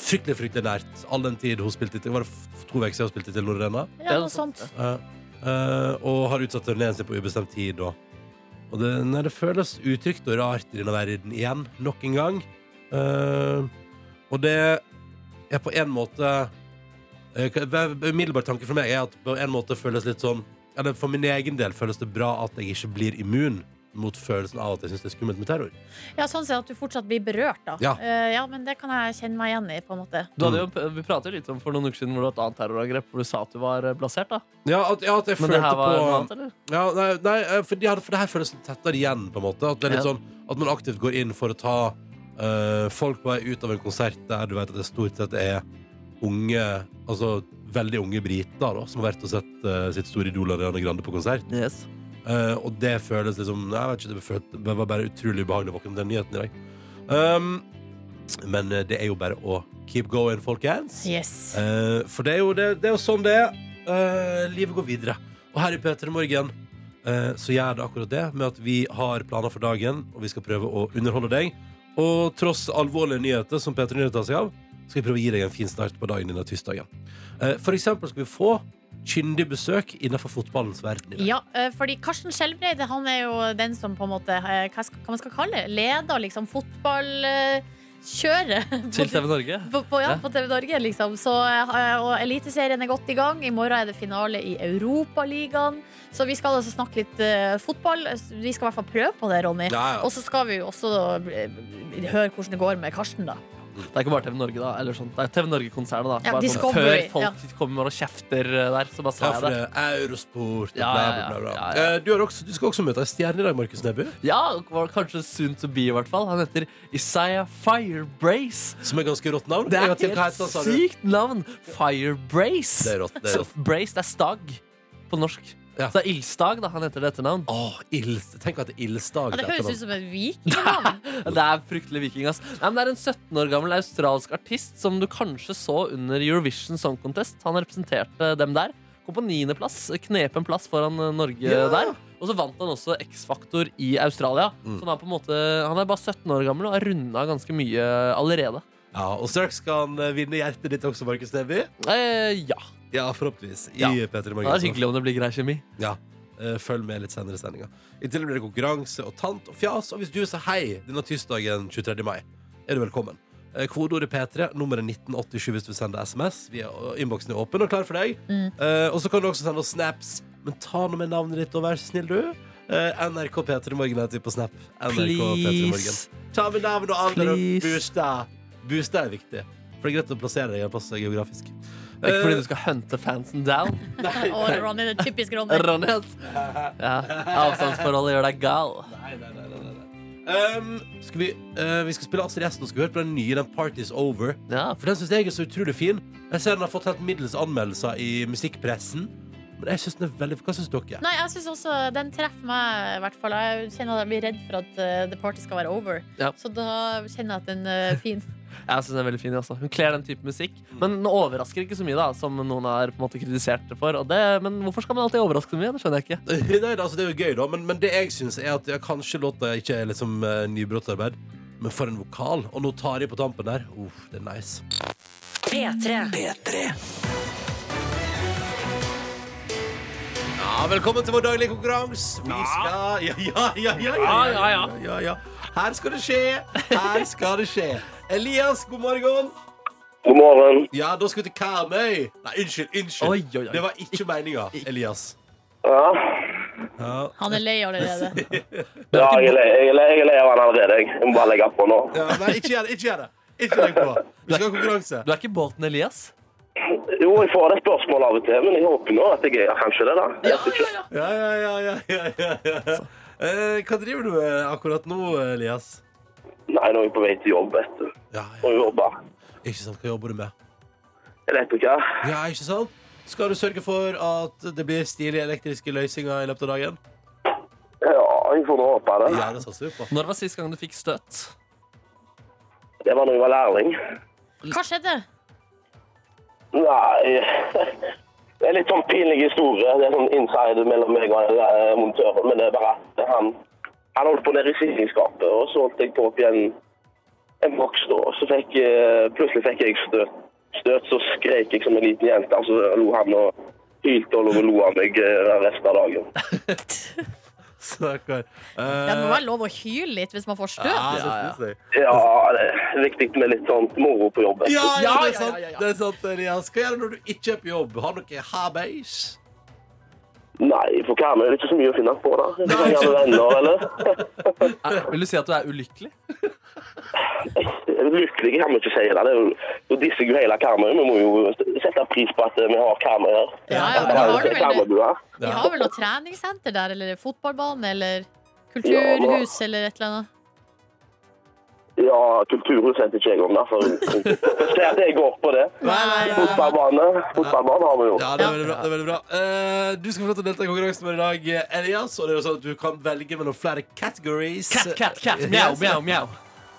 B: fryktelig, fryktelig nært. All den tid hun spilte til Var det f- to uker siden hun spilte til Lorena?
D: ja, noe sånt.
B: Ja. Eh, og har utsatt turneen sin på ubestemt tid. Og, og det, nei, det føles utrygt og rart i denne verden igjen, nok en gang. Eh, og det er på en måte eh, hva- hva- Umiddelbar tanke for meg er at på en måte føles litt sånn Eller for min egen del føles det bra at jeg ikke blir immun mot følelsen av at jeg syns det er skummelt med terror.
D: Ja, sånn sett at du fortsatt blir berørt, da.
B: Ja.
D: Eh, ja, men det kan jeg kjenne meg igjen i, på en måte.
C: Du hadde jo, vi pratet jo litt om for noen uker siden hvor du hadde et annet terrorangrep hvor du sa at du var eh, blasert. da
B: Ja, at, ja, at jeg
C: Men det
B: følte
C: her var noe
B: på
C: annet, eller?
B: Ja, nei, nei eh, for, de hadde, for det her føles tettere igjen, på en måte. At, det er litt
C: Ja.
B: sånn, at man aktivt går inn for å ta eh, folk på vei ut av en konsert der du vet at det stort sett er unge Altså veldig unge briter da, som har vært og sett eh, sitt store idol Ariana Grande på konsert.
C: Yes.
B: Eh, og det føles liksom nei, Jeg vet ikke, det, følt, det var bare utrolig ubehagelig å våkne til den nyheten i dag. Um, men eh, det er jo bare å keep going, folkens.
D: Yes.
B: Eh, for det er, jo, det, det er jo sånn det er. Eh, livet går videre. Og her i P3 Morgen eh, så gjør det akkurat det med at vi har planer for dagen, og vi skal prøve å underholde deg. Og tross alvorlige nyheter som P3 Nyheter tar seg av, skal vi prøve å gi deg en fin start på dagen denne tirsdagen. Eh, for eksempel skal vi få kyndig besøk innenfor fotballens verden. i dag.
D: Ja, eh, fordi Karsten Skjelbreide han er jo den som på en måte eh, Hva, skal, hva man skal kalle det? Leder liksom fotballkjøret.
C: Til TV Norge.
D: På, på, ja,
C: Ja.
D: på TV Norge, liksom. Så, eh, og Eliteserien er godt i gang. I morgen er det finale i Europaligaen. Så vi skal altså snakke litt eh, fotball. Vi skal i hvert fall prøve på det, Ronny.
B: Ja, ja.
D: Og så skal vi jo også eh, høre hvordan det går med Karsten, da.
C: Det er ikke bare TV Norge, da. Eller sånn. Det er TV Norge-konsernet, da.
D: Ja,
C: Bare sånn, før
D: Discovery,
C: folk kommer og kjefter eh, der, så bare sa
B: Ja, for
C: jeg det.
B: det er Eurosport og
C: Ja,
B: bla,
C: ja,
B: bla,
C: ja.
B: bla. bla.
C: Ja, ja.
B: Eh, Du, har også, du skal også møte ei stjerne i dag, Markus Neby.
C: Ja, var kanskje soon to be, i hvert fall. Han heter Isaiah Firebrace.
B: Som er ganske rått navn.
C: Det
B: Jeg
C: er
B: har tenkt, hva
C: helt
B: heter han, sa du?
C: sykt navn! Firebrace.
B: Det er rått, det er
C: Så Brace, det er stag på norsk.
B: Ja.
C: Så det er ildstag, da. Han heter det etternavn.
B: Åh, ilds, tenk at det er ildsdag
D: Ja, det
B: til
D: høres
B: etternavn.
D: ut som en vikingnavn.
C: Det er fryktelig viking, ass. Nei, men det er en 17 år gammel australsk artist som du kanskje så under Eurovision Song Contest. Han representerte dem der. Kom på niendeplass, knep en plass foran eh, Norge der. Og så vant han også X-Faktor i Australia.
B: Mm.
C: Så han er på en måte Han er bare 17 år gammel og har runda ganske mye allerede.
B: Ja, og straks skal han eh, vinne hjertet ditt også, Markus Neby.
C: Eh, ja.
B: Ja, forhåpentligvis. I
C: Ja.
B: P3
C: Det er
B: Morgen.
C: hyggelig om det blir grei kjemi.
B: Ja. Eh, Følg med litt senere i sendinga. I tillegg blir det konkurranse og tant og fjas. Og hvis du sier hei denne tirsdagen 23. mai, er du velkommen. Eh, Kodeordet P3, nummeret 1987 hvis du sender SMS. Vi er, og innboksen er åpen og klar for deg.
D: Mm.
B: Eh, og så kan du også sende oss snaps. Men ta nå med navnet ditt, og vær så snill, du. Eh, NRK P3 Morgen heter vi på Snap. NRK P3 Morgen.
C: Please.
B: Ta med navn og alder og
C: Please.
B: bostad. Bostad er viktig. For det er greit å plassere deg i en plass geografisk.
C: Det er Ikke
B: Eh.
C: fordi du skal hunte fansen down.
D: Og Ronny, det er typisk Ronny.
C: Ronny, ass. Ja. Avstandsforholdet gjør deg gal.
B: Nei, nei, nei, nei, nei. Um, skal vi, eh, vi skal spille Astrid S og skal høre på den nye, den Party's Over.
C: Ja,
B: For den syns jeg er så utrolig fin. Jeg ser den har fått helt middels anmeldelser i musikkpressen. Men jeg synes den er veldig Hva syns dere?
D: Nei, jeg synes også Den treffer meg, i hvert fall. Jeg kjenner at jeg blir redd for at eh, the party skal være over.
C: Ja.
D: Så da kjenner jeg at den er fin.
C: Jeg synes den er veldig fin altså. Hun kler den type musikk. Men den overrasker ikke så mye, da som noen har på en måte kritisert det for. Og det, men hvorfor skal man alltid overraske så mye? Det skjønner jeg ikke.
B: Nei, altså, det er jo gøy, da, men, men det jeg syns, er at jeg kanskje låta ikke er liksom eh, nybrottsarbeid. Men for en vokal. Og nå tar jeg på tampen der. Uff, det er nice.
A: P3.
B: Ja, velkommen til vår daglige konkurranse. Vi skal ja ja ja ja, ja, ja, ja, ja, ja. Her skal det skje. Her skal det skje. Elias, god morgen.
F: God morgen.
B: Ja, da skal vi til Karmøy. Nei, unnskyld. unnskyld
C: Oi, oi, oi.
B: Det var ikke meninga, Elias.
F: Ja,
B: Ja.
D: Han er lei allerede.
F: ja jeg, er lei, jeg, er lei, jeg er lei av han allerede. Jeg Jeg må bare legge på nå.
B: Ja, nei, ikke gjør det. Ikke gjør det. Ikke legg på. Vi skal ha konkurranse.
C: Du er ikke båten Elias?
F: Jo, jeg får det spørsmålet av og til, men jeg håper nå at jeg er kanskje det, da. Jeg vet ikke.
B: Ja, ja, ja. ja, ja, ja, ja. Eh, hva driver du med akkurat nå, Elias?
F: Nei, nå er jeg på vei til jobb, vet du.
B: Ja,
F: Må
B: ja.
F: jobbe.
B: Ikke sant, hva jobber du med?
F: Jeg vet ikke.
B: Ja, ikke sant? Skal du sørge for at det blir stilige elektriske løsninger i løpet av dagen?
F: Ja, jeg får nå håpe det.
B: Ja, det satser vi på.
C: Når var sist gang du fikk støt?
F: Det var når jeg var lærling.
D: Hva skjedde?
F: Nei, det er litt sånn pinlig historie. Det er sånn inside mellom meg og eh, montøren, men det er bare at han, han holdt på nede i sikringsskapet, og så holdt jeg på opp i en, en boks da, og så fikk, eh, plutselig fikk jeg støt. Støt, så skrek jeg som en liten jente, og så lo han og hylte og lo- lo av meg eh, resten av dagen.
B: Stakkar.
D: Det må
B: Eh,
D: være lov å hyle litt hvis man får støt.
B: ja, det synes jeg.
F: Ja, det er viktig med litt sånn moro på jobben.
B: Ja, ja, det er
C: Ja, ja,
B: sant.
C: ja, ja, ja.
B: Det er sant, Elias. Hva gjør du når du ikke er på jobb? Har dere habeis?
F: Nei, for hva er det ikke så mye å finne på da? Jeg kan gjerne venner, eller?
C: Er- Vil du si at du er ulykkelig?
F: Lykkelig kan vi ikke si det. Det er jo, nå disser jo hele Karmøy. Vi må jo sette pris på at eh, vi har Karmøy her.
D: Ja, ja, men har du vel det?
F: Karmøybua.
D: De har vel noe treningssenter der, eller fotballbane, eller kulturhus, eller et eller annet.
F: Ja, kulturhus heter ikke jeg om det. For se at jeg går på det.
B: Nei, nei, nei.
F: Fotballbane. Fotballbane har vi jo.
B: Ja, det er veldig bra. Det er veldig bra. Eh, du skal få lov til å delta i konkurransen vår i dag, Elias. Og det er jo sånn at du kan velge mellom flere categories.
C: Cat, cat, cat, mjau, mjau, mjau.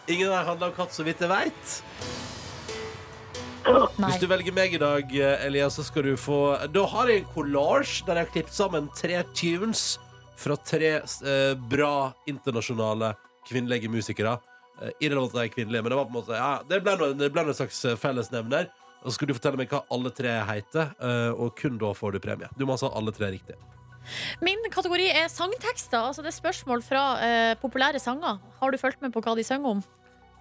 B: Ingen der handler om katt, så vidt jeg veit.
D: Nei.
B: Hvis du velger meg i dag, eh, Elias, så skal du få Da har jeg en collage der jeg har klippet sammen tre tunes fra tre eh, bra internasjonale kvinnelige musikere. Eh, irrelevant at de er kvinnelige, men det var på en måte ja, Det ble nå- det ble nå en slags eh, fellesnevner. Og så skal du fortelle meg hva alle tre heter, eh, og kun da får du premie. Du må altså ha alle tre riktig.
D: Min kategori er sangtekster. Altså det er spørsmål fra eh, populære sanger. Har du fulgt med på hva de synger om?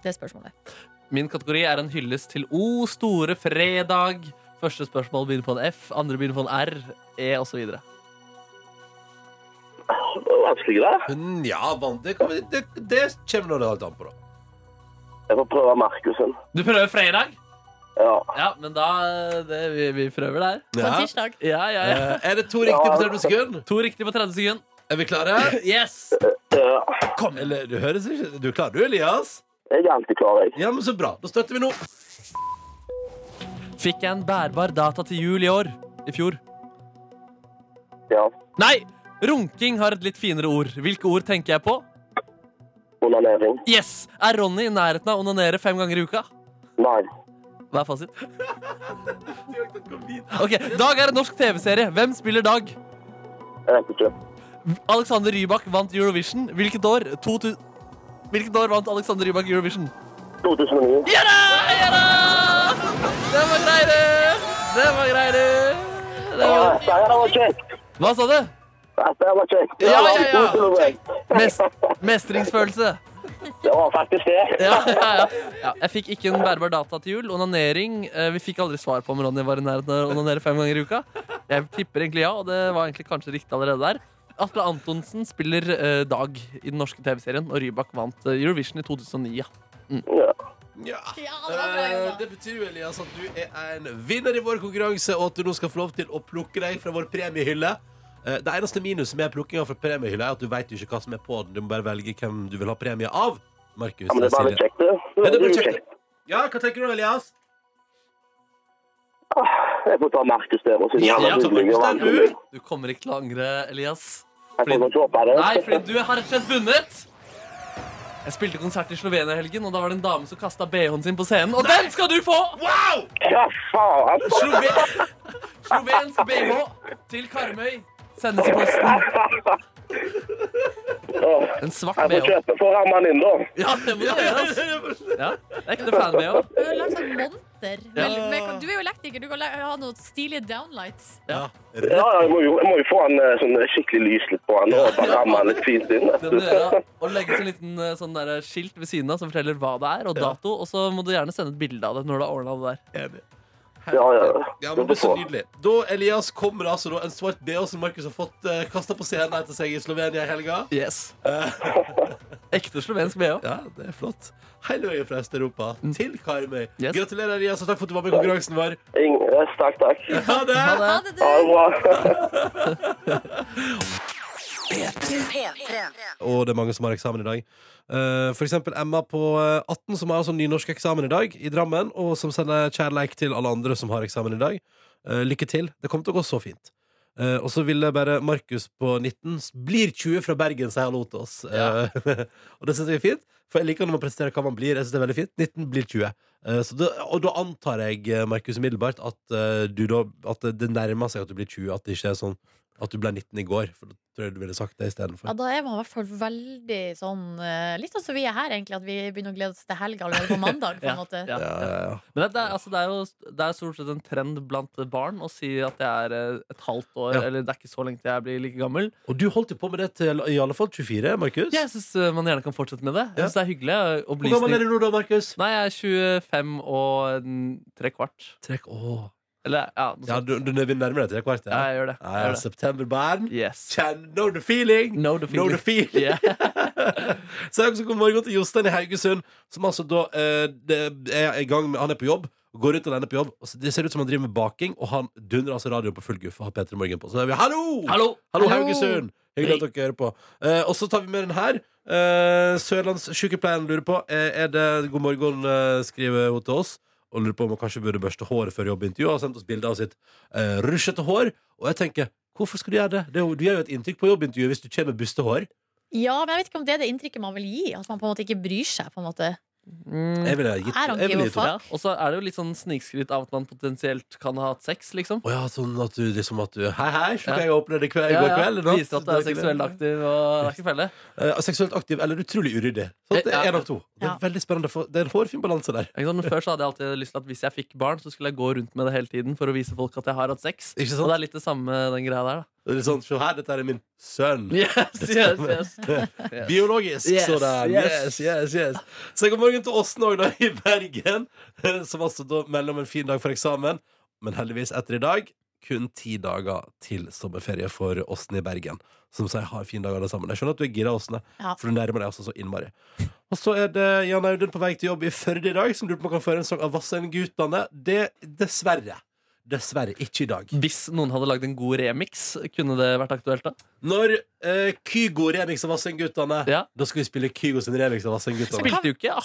D: Det er spørsmålet.
C: Min kategori er en hyllest til O store fredag. Første spørsmål begynner på en F, andre begynner på en R, E osv.
F: Det er vanskelig, det.
B: Nja, vant det, kan vi- det, det kommer nå det alt an på, da.
F: Jeg får prøve Markusen.
C: Du prøver fredag?
F: Ja.
C: Ja, men da det, vi, vi prøver der.
D: På en
B: Ja.
D: tirsdag.
C: Ja, ja, ja.
B: Eh, Er det to riktige på 30 sekunder?
C: To riktige på 30 sekunder.
B: Er vi klare?
C: Yes!
F: ja.
B: Kom, eller, du høres ikke Du er klar, du, Elias?
F: Jeg er alltid klar, jeg.
B: Ja, men Så bra. Da støtter vi nå.
C: Fikk jeg en bærbar data til jul i år? I fjor?
F: Ja.
C: Nei! Runking har et litt finere ord. Hvilke ord tenker jeg på?
F: Onanering.
C: Yes! Er Ronny i nærheten av å onanere fem ganger i uka?
F: Nei.
C: Hva er fasit? Ok, Dag er en norsk TV-serie. Hvem spiller Dag?
F: Jeg vet ikke.
C: Alexander Rybak vant Eurovision. Hvilket år? 2000 Hvilket år vant Alexander Rybak Eurovision?
F: 2009.
C: Ja da! Ja da! Det var greier! Det var greier! Det
F: Ja,
C: var...
F: det her var kjekt.
C: Hva sa du?
F: Det var kjekt. Det
C: Ja,
F: var
C: ja, ja.
F: koselig, jeg.
C: Mest... Mestringsfølelse.
F: Det var faktisk det.
C: Ja, ja, ja. ja, jeg fikk ikke en bærbar data til jul. Onanering eh, Vi fikk aldri svar på om Ronny var i nærheten av å onanere fem ganger i uka. Jeg tipper egentlig ja, og det var egentlig kanskje riktig allerede der. Atle Antonsen spiller eh, Dag i den norske TV-serien, og Rybak vant eh, Eurovision i 2009. Ja.
F: Ja.
B: Ja.
D: Ja, det var bra
B: Eh,
D: jobba.
B: Det betyr jo, Elias, at du er en vinner i vår konkurranse, og at du nå skal få lov til å plukke deg fra vår premiehylle. Eh, Det eneste minuset med plukkinga fra premiehylla er at du veit ikke hva som er på den. Du må bare velge hvem du vil ha premie av. Markus.
F: Ja, men det er bare
B: Silje.
F: litt kjekt, det.
B: Ja,
F: Det
B: det
F: er
B: blir
F: jo
B: kjekt.
F: kjekt.
B: Ja, hva tenker du, Elias?
F: Jeg får ta Markus der og si
C: Ja,
F: han
C: ja,
F: er
C: ta
F: hyggelig. og
B: Markus
F: han-
B: der, du.
C: Du kommer ikke til å angre, Elias.
F: Jeg får ikke håpe det.
C: Nei, fordi du har rett og slett vunnet. Jeg spilte konsert i Slovenia i helgen, og da var det en dame som kasta BH-en sin på scenen. Og den skal du få!
F: Hva faen?
C: Slove- Slovensk BH til Karmøy. Sendes i posten.
F: Åh,
C: En svart
F: Jeg får
C: bh.
F: kjøpe, får ramme den inn, da.
C: Ja, det må du gjøre, altså. Ja, det er ekte fan-bh.
D: Du har lagd sånn monter.
C: Ja.
D: Men, men, du er jo elektriker, du kan la- ha noen stilige downlights.
F: Ja, ja, jeg må jo, jeg må jo få han eh, sånn skikkelig lys litt på han, og bare ramme han litt fint inn. vet
C: Det
F: du.
C: må du gjøre. Og legge til en liten eh, sånn der skilt ved siden av som forteller hva det er, og dato. Og så må du gjerne sende et bilde av det når du har ordna det der.
B: Enig.
F: Ja, ja.
B: Ja, men det er så nydelig Da, Elias, kommer det altså da en svart BH som Markus har fått uh, kasta på scenen etter seg i Slovenia i helga.
C: Yes. Ekte slovensk bh.
B: Ja, det er flott. Hele veien fra Øst-Europa til Karmøy.
C: Mm. Yes.
B: Gratulerer, Elias, og takk for at du var med i konkurransen vår.
F: Ingen, yes, takk, takk. Ja,
B: Ha det!
C: Ha det.
D: Ha det, du!
F: det er bra.
A: P3.
B: Og det er mange som har eksamen i dag. Eh, for eksempel Emma på eh, 18, som har sånn nynorskeksamen i dag i Drammen, og som sender kjærleik til alle andre som har eksamen i dag. Eh, lykke til. Det kommer til å gå så fint. Eh, og så ville bare Markus på 19 s- blir 20 fra Bergen, sier hallo til oss.
C: Ja.
B: Eh, og det syns jeg er fint, for jeg liker når man presterer hva man blir. Jeg synes det er veldig fint. 19 blir 20. Eh, så da- og da antar jeg, eh, Markus, umiddelbart at, eh, du da, at det nærmer seg at du blir 20, at det ikke er sånn at du ble 19 i går. For da tror jeg du ville sagt det istedenfor.
D: Ja, da er man i hvert fall veldig sånn eh, Litt sånn som vi er her, egentlig, at vi begynner å glede oss til helga allerede på mandag. på en måte
C: Ja,
B: Ja,
C: ja.
B: ja, ja.
C: Men det, det, er, altså, det er jo det er stort sett en trend blant barn å si at det er eh, et halvt år,
B: Ja.
C: eller det er ikke så lenge til jeg blir like gammel.
B: Og du holdt jo på med det til i alle fall 24, Markus.
C: Jeg syns man gjerne kan fortsette med det.
B: Ja.
C: Jeg synes det er hyggelig eh, å bli
B: Hvor gammel er
C: snill.
B: du nå, da, Markus?
C: Nei, jeg er 25 og mm, tre kvart.
B: Trekk, åh.
C: Eller ja, noe
B: Ja,
C: sånt.
B: du, du begynner nærmere deg trekvart.
C: Ja, jeg gjør det.
B: Ja,
C: Jeg
B: ja,
C: gjør det.
B: Septemberbarn.
C: Yes.
B: Kjenn know the feeling!
C: Know the
B: Know the feeling.
C: Yeah.
B: Så jeg også god morgen til Jostein i Haugesund, som altså da eh, det er i gang med Han er på jobb, går ut og lander på jobb. Og så- det ser ut som han driver med baking, og han dundrer altså radioen på full guffe og har Peter Morgen på. Så da er vi hallo!
C: Hallo!
B: Hallo,
D: Hallo!
B: Haugesund! Hyggelig at dere hører på. Eh, og så tar vi med den her. Uh, Sørlandssykepleien lurer på eh, Er det god morgen, eh, skriver hun til oss. Og lurer på om hun kanskje burde børste håret før jobbintervju. Og har sendt oss bilde av sitt eh, rusjete hår. Og jeg tenker, hvorfor skal du gjøre det? det er jo, du gjør jo et inntrykk på jobbintervjuet hvis du kommer med buste hår.
D: Ja, men jeg vet ikke om det er det inntrykket man vil gi. At man på en måte ikke bryr seg. på en måte
C: Mm.
B: Jeg ville ha gitt
D: I don't
B: jeg ville gitt
D: give a
B: opp.
D: fuck.
C: Ja, og så er det jo litt sånn snikskryt av at man potensielt kan ha hatt sex, liksom.
B: Å ja, sånn at du liksom at du Hei, hei, se
C: Ja.
B: hva jeg opplevde i kveld, i
C: Ja,
B: går
C: ja.
B: kveld. eller noe.
C: Viser at du er seksuelt aktiv og det er ikke felle.
B: Eh, seksuelt aktiv eller utrolig uryddig. Så det
C: Ja.
B: er én av to. Det er
D: Ja.
B: veldig spennende. for- Det er en hårfin balanse der.
C: Ikke sant? Men Før så hadde jeg alltid lyst til at hvis jeg fikk barn, så skulle jeg gå rundt med det hele tiden for å vise folk at jeg har hatt sex.
B: Ikke sant?
C: Og det er litt det samme den greia der, da.
B: Det er litt sånn, Se her, dette er min sønn.
C: Yes, yes, yes. Yes.
B: Biologisk,
C: Yes,
B: så der. Yes, yes,
C: yes.
B: yes. Så god morgen til Åsten òg, da, i Bergen. Som altså da melder om en fin dag for eksamen. Men heldigvis etter i dag kun ti dager til sommerferie for Åsten i Bergen. Som sier ha en fin dag, alle sammen. Jeg skjønner at du er gira, Åsne,
D: Ja.
B: for du nærmer deg altså så innmari. Og så er det Jan Audun på vei til jobb i Førde i dag, som lurer på om han kan føre en sang av Vassendgutane. Det dessverre. Dessverre ikke i dag.
C: Hvis noen hadde lagd en god remix, kunne det vært aktuelt da?
B: Når eh, Kygo remikser Vassendgutane,
C: Ja.
B: da skal vi spille Kygo sin remix av Vassendgutane.
C: Spilte jo ikke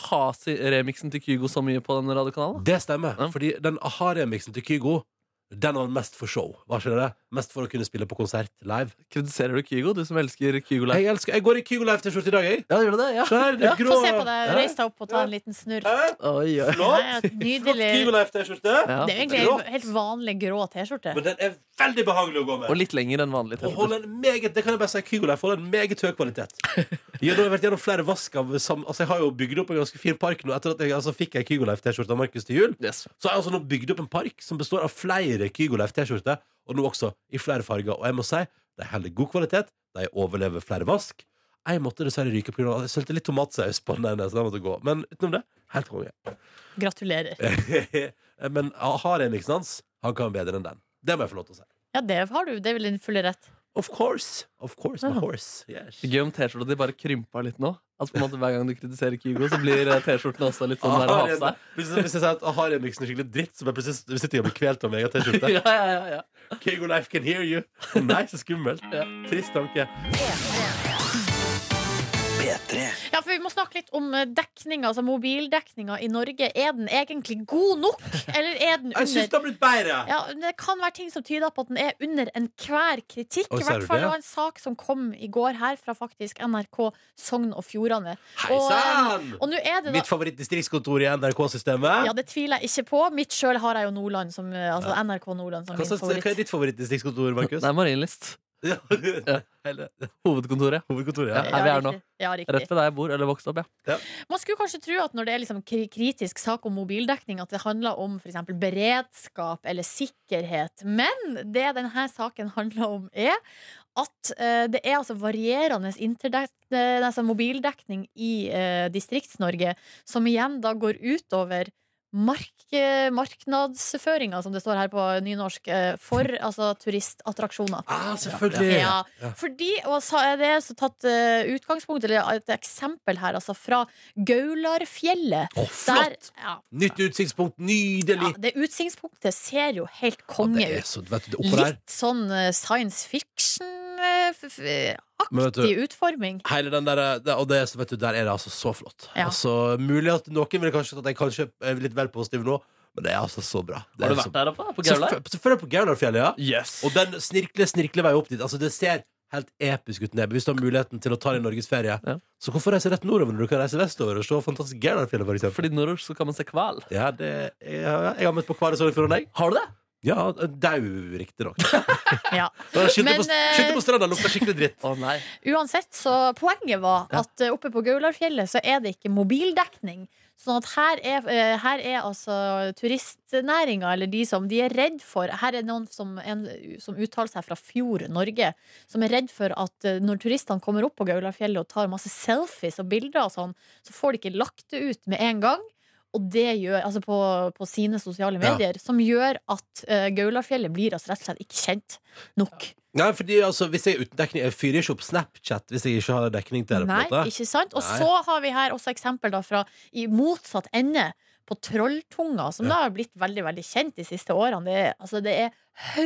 C: a-ha-remixen til Kygo så mye på den radiokanalen.
B: Det stemmer,
C: Ja.
B: fordi den aha-remixen til Kygo Den var mest for show, var ikke det? Mest for å kunne spille på konsert live
C: Kritiserer du Kygo, du som elsker Kygo Live?
B: Jeg, elsker, jeg går i Kygo Live-t-skjorte i dag, jeg
C: Ja, gjør du det? Ja.
B: Se her, det er grå
D: Få se på deg.
B: Ja.
D: Reis deg opp og ta en liten snurr.
B: Hæ?
C: Oi, oi.
B: Flott,
D: Nei,
B: flott
D: Nydelig.
B: Kygo Live-t-skjorte
C: Ja.
D: Det er jo egentlig en helt vanlig grå T-skjorte.
B: Men den er veldig behagelig å gå
C: Og
B: med
C: litt lenger enn vanlig.
B: og holder en meget, det kan jeg bare si Kygo Life holder en meget høy kvalitet Jeg har vært gjennom flere vask av sam, Altså jeg har jo bygd opp en ganske fin park nå Etter at jeg altså, fikk en Kygo Life-t-skjorte av Markus til jul
C: Yes.
B: Så har jeg altså nå bygd opp en park som består av flere Kygoleif T-skjorter, og nå også i flere farger. Og jeg må si, de holder god kvalitet, de overlever flere vask. Jeg måtte dessverre ryke pga. Jeg sølte litt tomatsaus på den ene, så den måtte gå. Men utenom det, helt konge.
D: Gratulerer.
B: Men aha-remiksen hans, han kan bedre enn den. Det må jeg få lov til å si.
D: Ja, det har du. Det er vel din fulle rett.
B: Of course. Of course, my
C: Ja.
B: horse. Yes.
C: Gøy om T-skjorta di bare krympa litt nå. Altså på en måte Hver gang du kritiserer Kygo, så blir eh, T-skjorten også litt sånn der å ha på seg.
B: Ah, Hvis hvis jeg sier at ah, aha-remiksen er skikkelig dritt, så blir jeg plutselig sitter jeg og blir kvelt av meg egen T-skjorte.
C: Ja, ja, ja, ja.
B: Kygo Life can hear you. Å Nei, så skummelt.
C: Ja.
B: Trist tanke.
D: Ja, for Vi må snakke litt om eh, dekninga, altså mobildekninga i Norge. Er den egentlig god nok, eller er den
B: Jeg syns
D: under
B: det har blitt bedre!
D: ja, Det kan være ting som tyder på at den er under enhver kritikk.
B: Oi,
D: I
B: ser du
D: hvert fall
B: det?
D: det var en sak som kom i går her fra faktisk NRK Sogn og Fjordane.
B: Hei
D: Og, eh,
B: sann!
D: Og nå er det da
B: Mitt favorittdistriktskontor i NRK-systemet.
D: ja, det tviler jeg ikke på. Mitt sjøl har jeg jo Nordland som, eh, altså NRK Nordland som
B: hva,
D: min
B: slags- hva er
D: favoritt.
B: ditt favorittdistriktskontor, Markus?
C: Det er Marienlyst.
B: Ja.
C: Ja.
B: Hele
C: Hovedkontoret.
B: hovedkontoret.
C: Ja,
B: Ja.
C: her vi er nå.
D: riktig. Ja, riktig.
C: Rett ved der jeg bor, eller vokste opp, ja.
D: Man skulle kanskje tro at når det er liksom kri- kritisk sak om mobildekning, at det handler om f.eks. beredskap eller sikkerhet. Men det denne saken handler om, er at eh, det er altså varierende interdek- eh, altså mobildekning i eh, Distrikts-Norge, som igjen da går utover Mark, eh, marknadsføringa, som det står her på nynorsk, eh, for altså turistattraksjoner.
B: Ah, selvfølgelig!
D: Ja, fordi, og så er det så tatt eh, utgangspunkt, eller et eksempel her, altså fra Gaularfjellet.
B: Å,
D: Der,
B: flott!
D: ja,
B: Nytt utsiktspunkt,
D: ja,
B: nydelig!
D: det utsiktspunktet ser jo helt
B: Ja,
D: konge
B: det er
D: ut.
B: så, vet du, det er oppå der.
D: Litt sånn eh, science eh,
B: Men vet
D: fiction-aktig
B: du-
D: utforming.
B: Hele den der, der- og det, vet du, der er det altså så flott.
D: Ja.
B: Altså, mulig at noen ville kanskje at jeg kanskje er litt vel positiv nå, men det er altså så bra. Det
C: Har
B: er
C: du
B: så-
C: vært der oppe? da, På Gaular?
B: Selvfø- Selvfølgelig på Gaularfjellet, ja.
C: Yes.
B: Og den snirkle, snirkle veien opp dit. Altså, det ser helt episk ut nede. Hvis du har muligheten til å ta din norgesferie,
C: Ja.
B: så hvorfor reise rett nordover når du kan reise vestover og se fantastisk Gaularfjellet, for eksempel?
C: Fordi nordover så kan man se hval.
B: Ja, det, jeg, jeg har møtt på Kvare Sogn og Fjordane, jeg.
C: Har du det?
B: Ja, dau, riktignok.
D: Ja.
B: Skyldte
D: Men,
B: på, skyldte på
D: eh,
B: stranda, lukta skikkelig dritt.
C: Å nei.
D: Uansett, så poenget var at eh, oppe på Gaularfjellet så er det ikke mobildekning. Sånn at her er, eh, her er altså turistnæringa, eller de som de er redd for Her er noen som, en, som uttaler seg fra Fjord Norge, som er redd for at eh, når turistene kommer opp på Gaularfjellet og tar masse selfies og bilder og sånn, så får de ikke lagt det ut med en gang. Og det gjør, altså på, på sine sosiale
B: Ja.
D: medier, som gjør at eh, Gaularfjellet blir altså rett og slett ikke kjent nok.
B: Nei, fordi altså, hvis jeg er uten dekning Jeg fyrer ikke opp Snapchat hvis jeg ikke har dekning til det. på
D: Nei,
B: en måte.
D: ikke sant? Og
B: Nei.
D: så har vi her også eksempel da fra i motsatt ende på Trolltunga, som
B: Ja.
D: da har blitt veldig veldig kjent de siste årene. Det er, altså, det er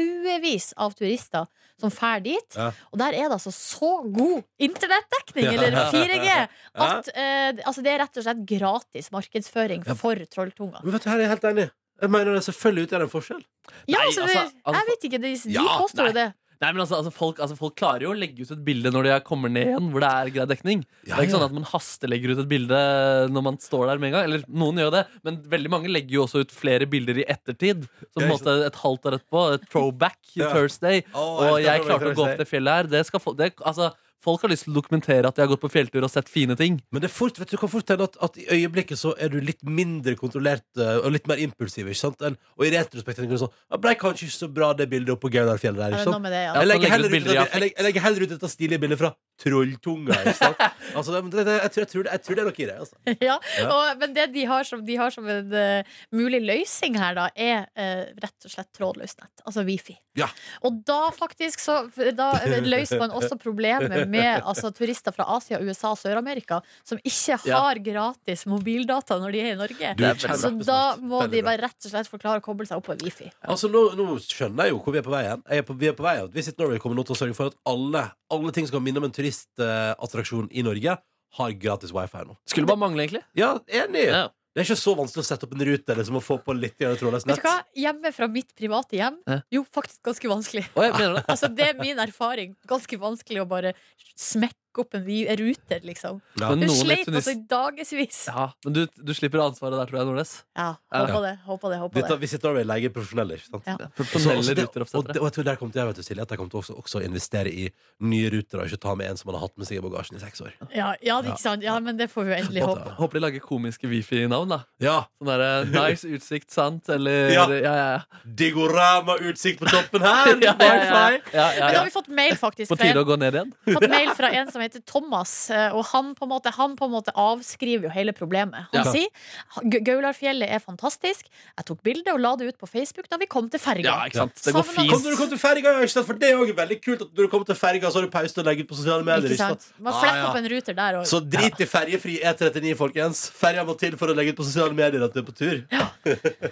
D: haugevis av turister som drar dit.
B: Ja.
D: Og der er det altså så god internettdekning,
B: Ja.
D: eller 4G,
B: Ja.
D: at eh, altså, det er rett og slett gratis markedsføring
B: Ja.
D: for Trolltunga.
B: Men vet du, her er jeg helt enig. Jeg mener det selvfølgelig ut er det en forskjell.
D: Ja,
C: Nei,
D: altså,
C: altså, altså-
D: jeg vet ikke, de, de
B: Ja,
D: påstår jo det.
C: Nei, men altså, altså, folk, altså Folk klarer jo å legge ut et bilde når de er- kommer ned igjen, hvor det er grei dekning. det er ikke sånn at man hastelegger ut et bilde når man står der med en gang. Eller noen gjør det, men veldig mange legger jo også ut flere bilder i ettertid. Så på
B: Ja,
C: en
B: ikke
C: måte et halvt år etterpå. Et throwback
B: Ja.
C: Thursday.
B: Å,
C: Og
B: jeg
C: jeg
B: skal
C: klarte å gå opp det fjellet her. Det skal få, det, altså, folk har lyst til å dokumentere at de har gått på fjelltur og sett fine ting.
B: Men det er fort, vet du, du kan fort hende at, at i øyeblikket så er du litt mindre kontrollert eh, og litt mer impulsiv. ikke sant? Enn, og i retrospekt tenker du sånn Det ble kanskje ikke så bra, det bildet oppe på Gaularfjellet der.
D: Er
B: ikke
D: det
B: sant?
D: noe med det, ja.
C: Ja.
B: Jeg
C: man legger
B: legger,
C: ut
B: heller ut,
C: bilder i
B: dette- jeg, legger, jeg legger heller ut dette stilige bildet fra Trolltunga. Ikke sant? altså, det, det, det, jeg, tror, jeg, tror det, jeg tror det er noe i det. altså.
D: Ja,
B: Ja.
D: og, men det de har som, de har som en eh, mulig løsning her, da, er eh, rett og slett trådløst nett. Altså wifi.
B: Ja.
D: Og da faktisk så da løser man også problemet med altså, turister fra Asia, USA og Sør-Amerika som ikke
C: Ja.
D: har gratis mobildata når de er i Norge.
B: Du,
D: så
B: kjempesmart.
D: da må
B: Veldig
D: de
B: bra.
D: bare rett og slett forklare å koble seg opp på wifi.
B: Altså, nå, nå skjønner jeg jo hvor vi er på vei hen. Jeg er på, vi er på vei at Visit Norway kommer nå til å sørge for at alle, alle ting som kan minne om en turistattraksjon i Norge, har gratis wifi nå.
C: Skulle bare mangle, egentlig.
B: Ja, enig!
C: Ja.
B: Det er ikke så vanskelig å sette opp en rute eller som å få på litt grann trådløst
D: Vet
B: nett.
D: du hva? Hjemme fra mitt private hjem?
C: Ja.
D: Jo, faktisk ganske vanskelig.
C: Og jeg mener det.
D: Altså, det er min erfaring. Ganske vanskelig å bare smekke opp en vi- en ruter, liksom.
B: Ja.
C: Men
D: Hun
C: noen i
D: sleit
C: Tunis
D: altså i dagevis.
C: ja, Men du, du slipper ansvaret der, tror jeg, Nordnes.
D: Ja,
C: Ja.
D: håper det. Håper det, håper
B: Dette,
D: det.
B: Visit Norway leier profesjonelle, ikke sant?
D: Ja.
B: Så- også
C: Profesjonelle
B: det- og, det-
C: ruter oppsettere.
B: og jeg tror der kom til, jeg vet du, Silje, at jeg kom til også, også å investere i nye ruter og ikke ta med en som man har hatt med seg i bagasjen i seks år.
D: Ja, ja, ikke sant? ja, men det får vi jo endelig håpe.
C: Håper de lager komiske wifi-navn, da.
B: Ja,
C: Sånn derre nice utsikt, sant? Eller
B: Ja.
C: Ja, ja, ja.
B: Diorama-utsikt på toppen her!
C: ja, ja,
B: Wifi!
C: ja, ja,
D: Men da har
C: ja.
D: vi fått mail faktisk
C: På
D: fra
C: tide å
D: en,
C: gå ned igjen?
D: fått mail fra en som heter Thomas, eh, og han på en måte, han på en måte avskriver jo hele problemet. Han
C: Ja.
D: sier G- Gaularfjellet er fantastisk. Jeg tok bilde og la det ut på Facebook da vi kom til ferga.
C: Ja, ikke sant? Det går
D: Savner-
B: Kom, når du
C: fint.
B: kommer til ferga, ja, ikke sant? for det er jo veldig kult at når du kommer til ferga, så har du pause til å legge ut på sosiale medier.
D: Ikke sant? Man fletter
B: Ah, ja.
D: opp en ruter der og-
B: Så drit i ferjefri E39, folkens. Ferja må til for å legge ut på sosiale medier at du er på tur.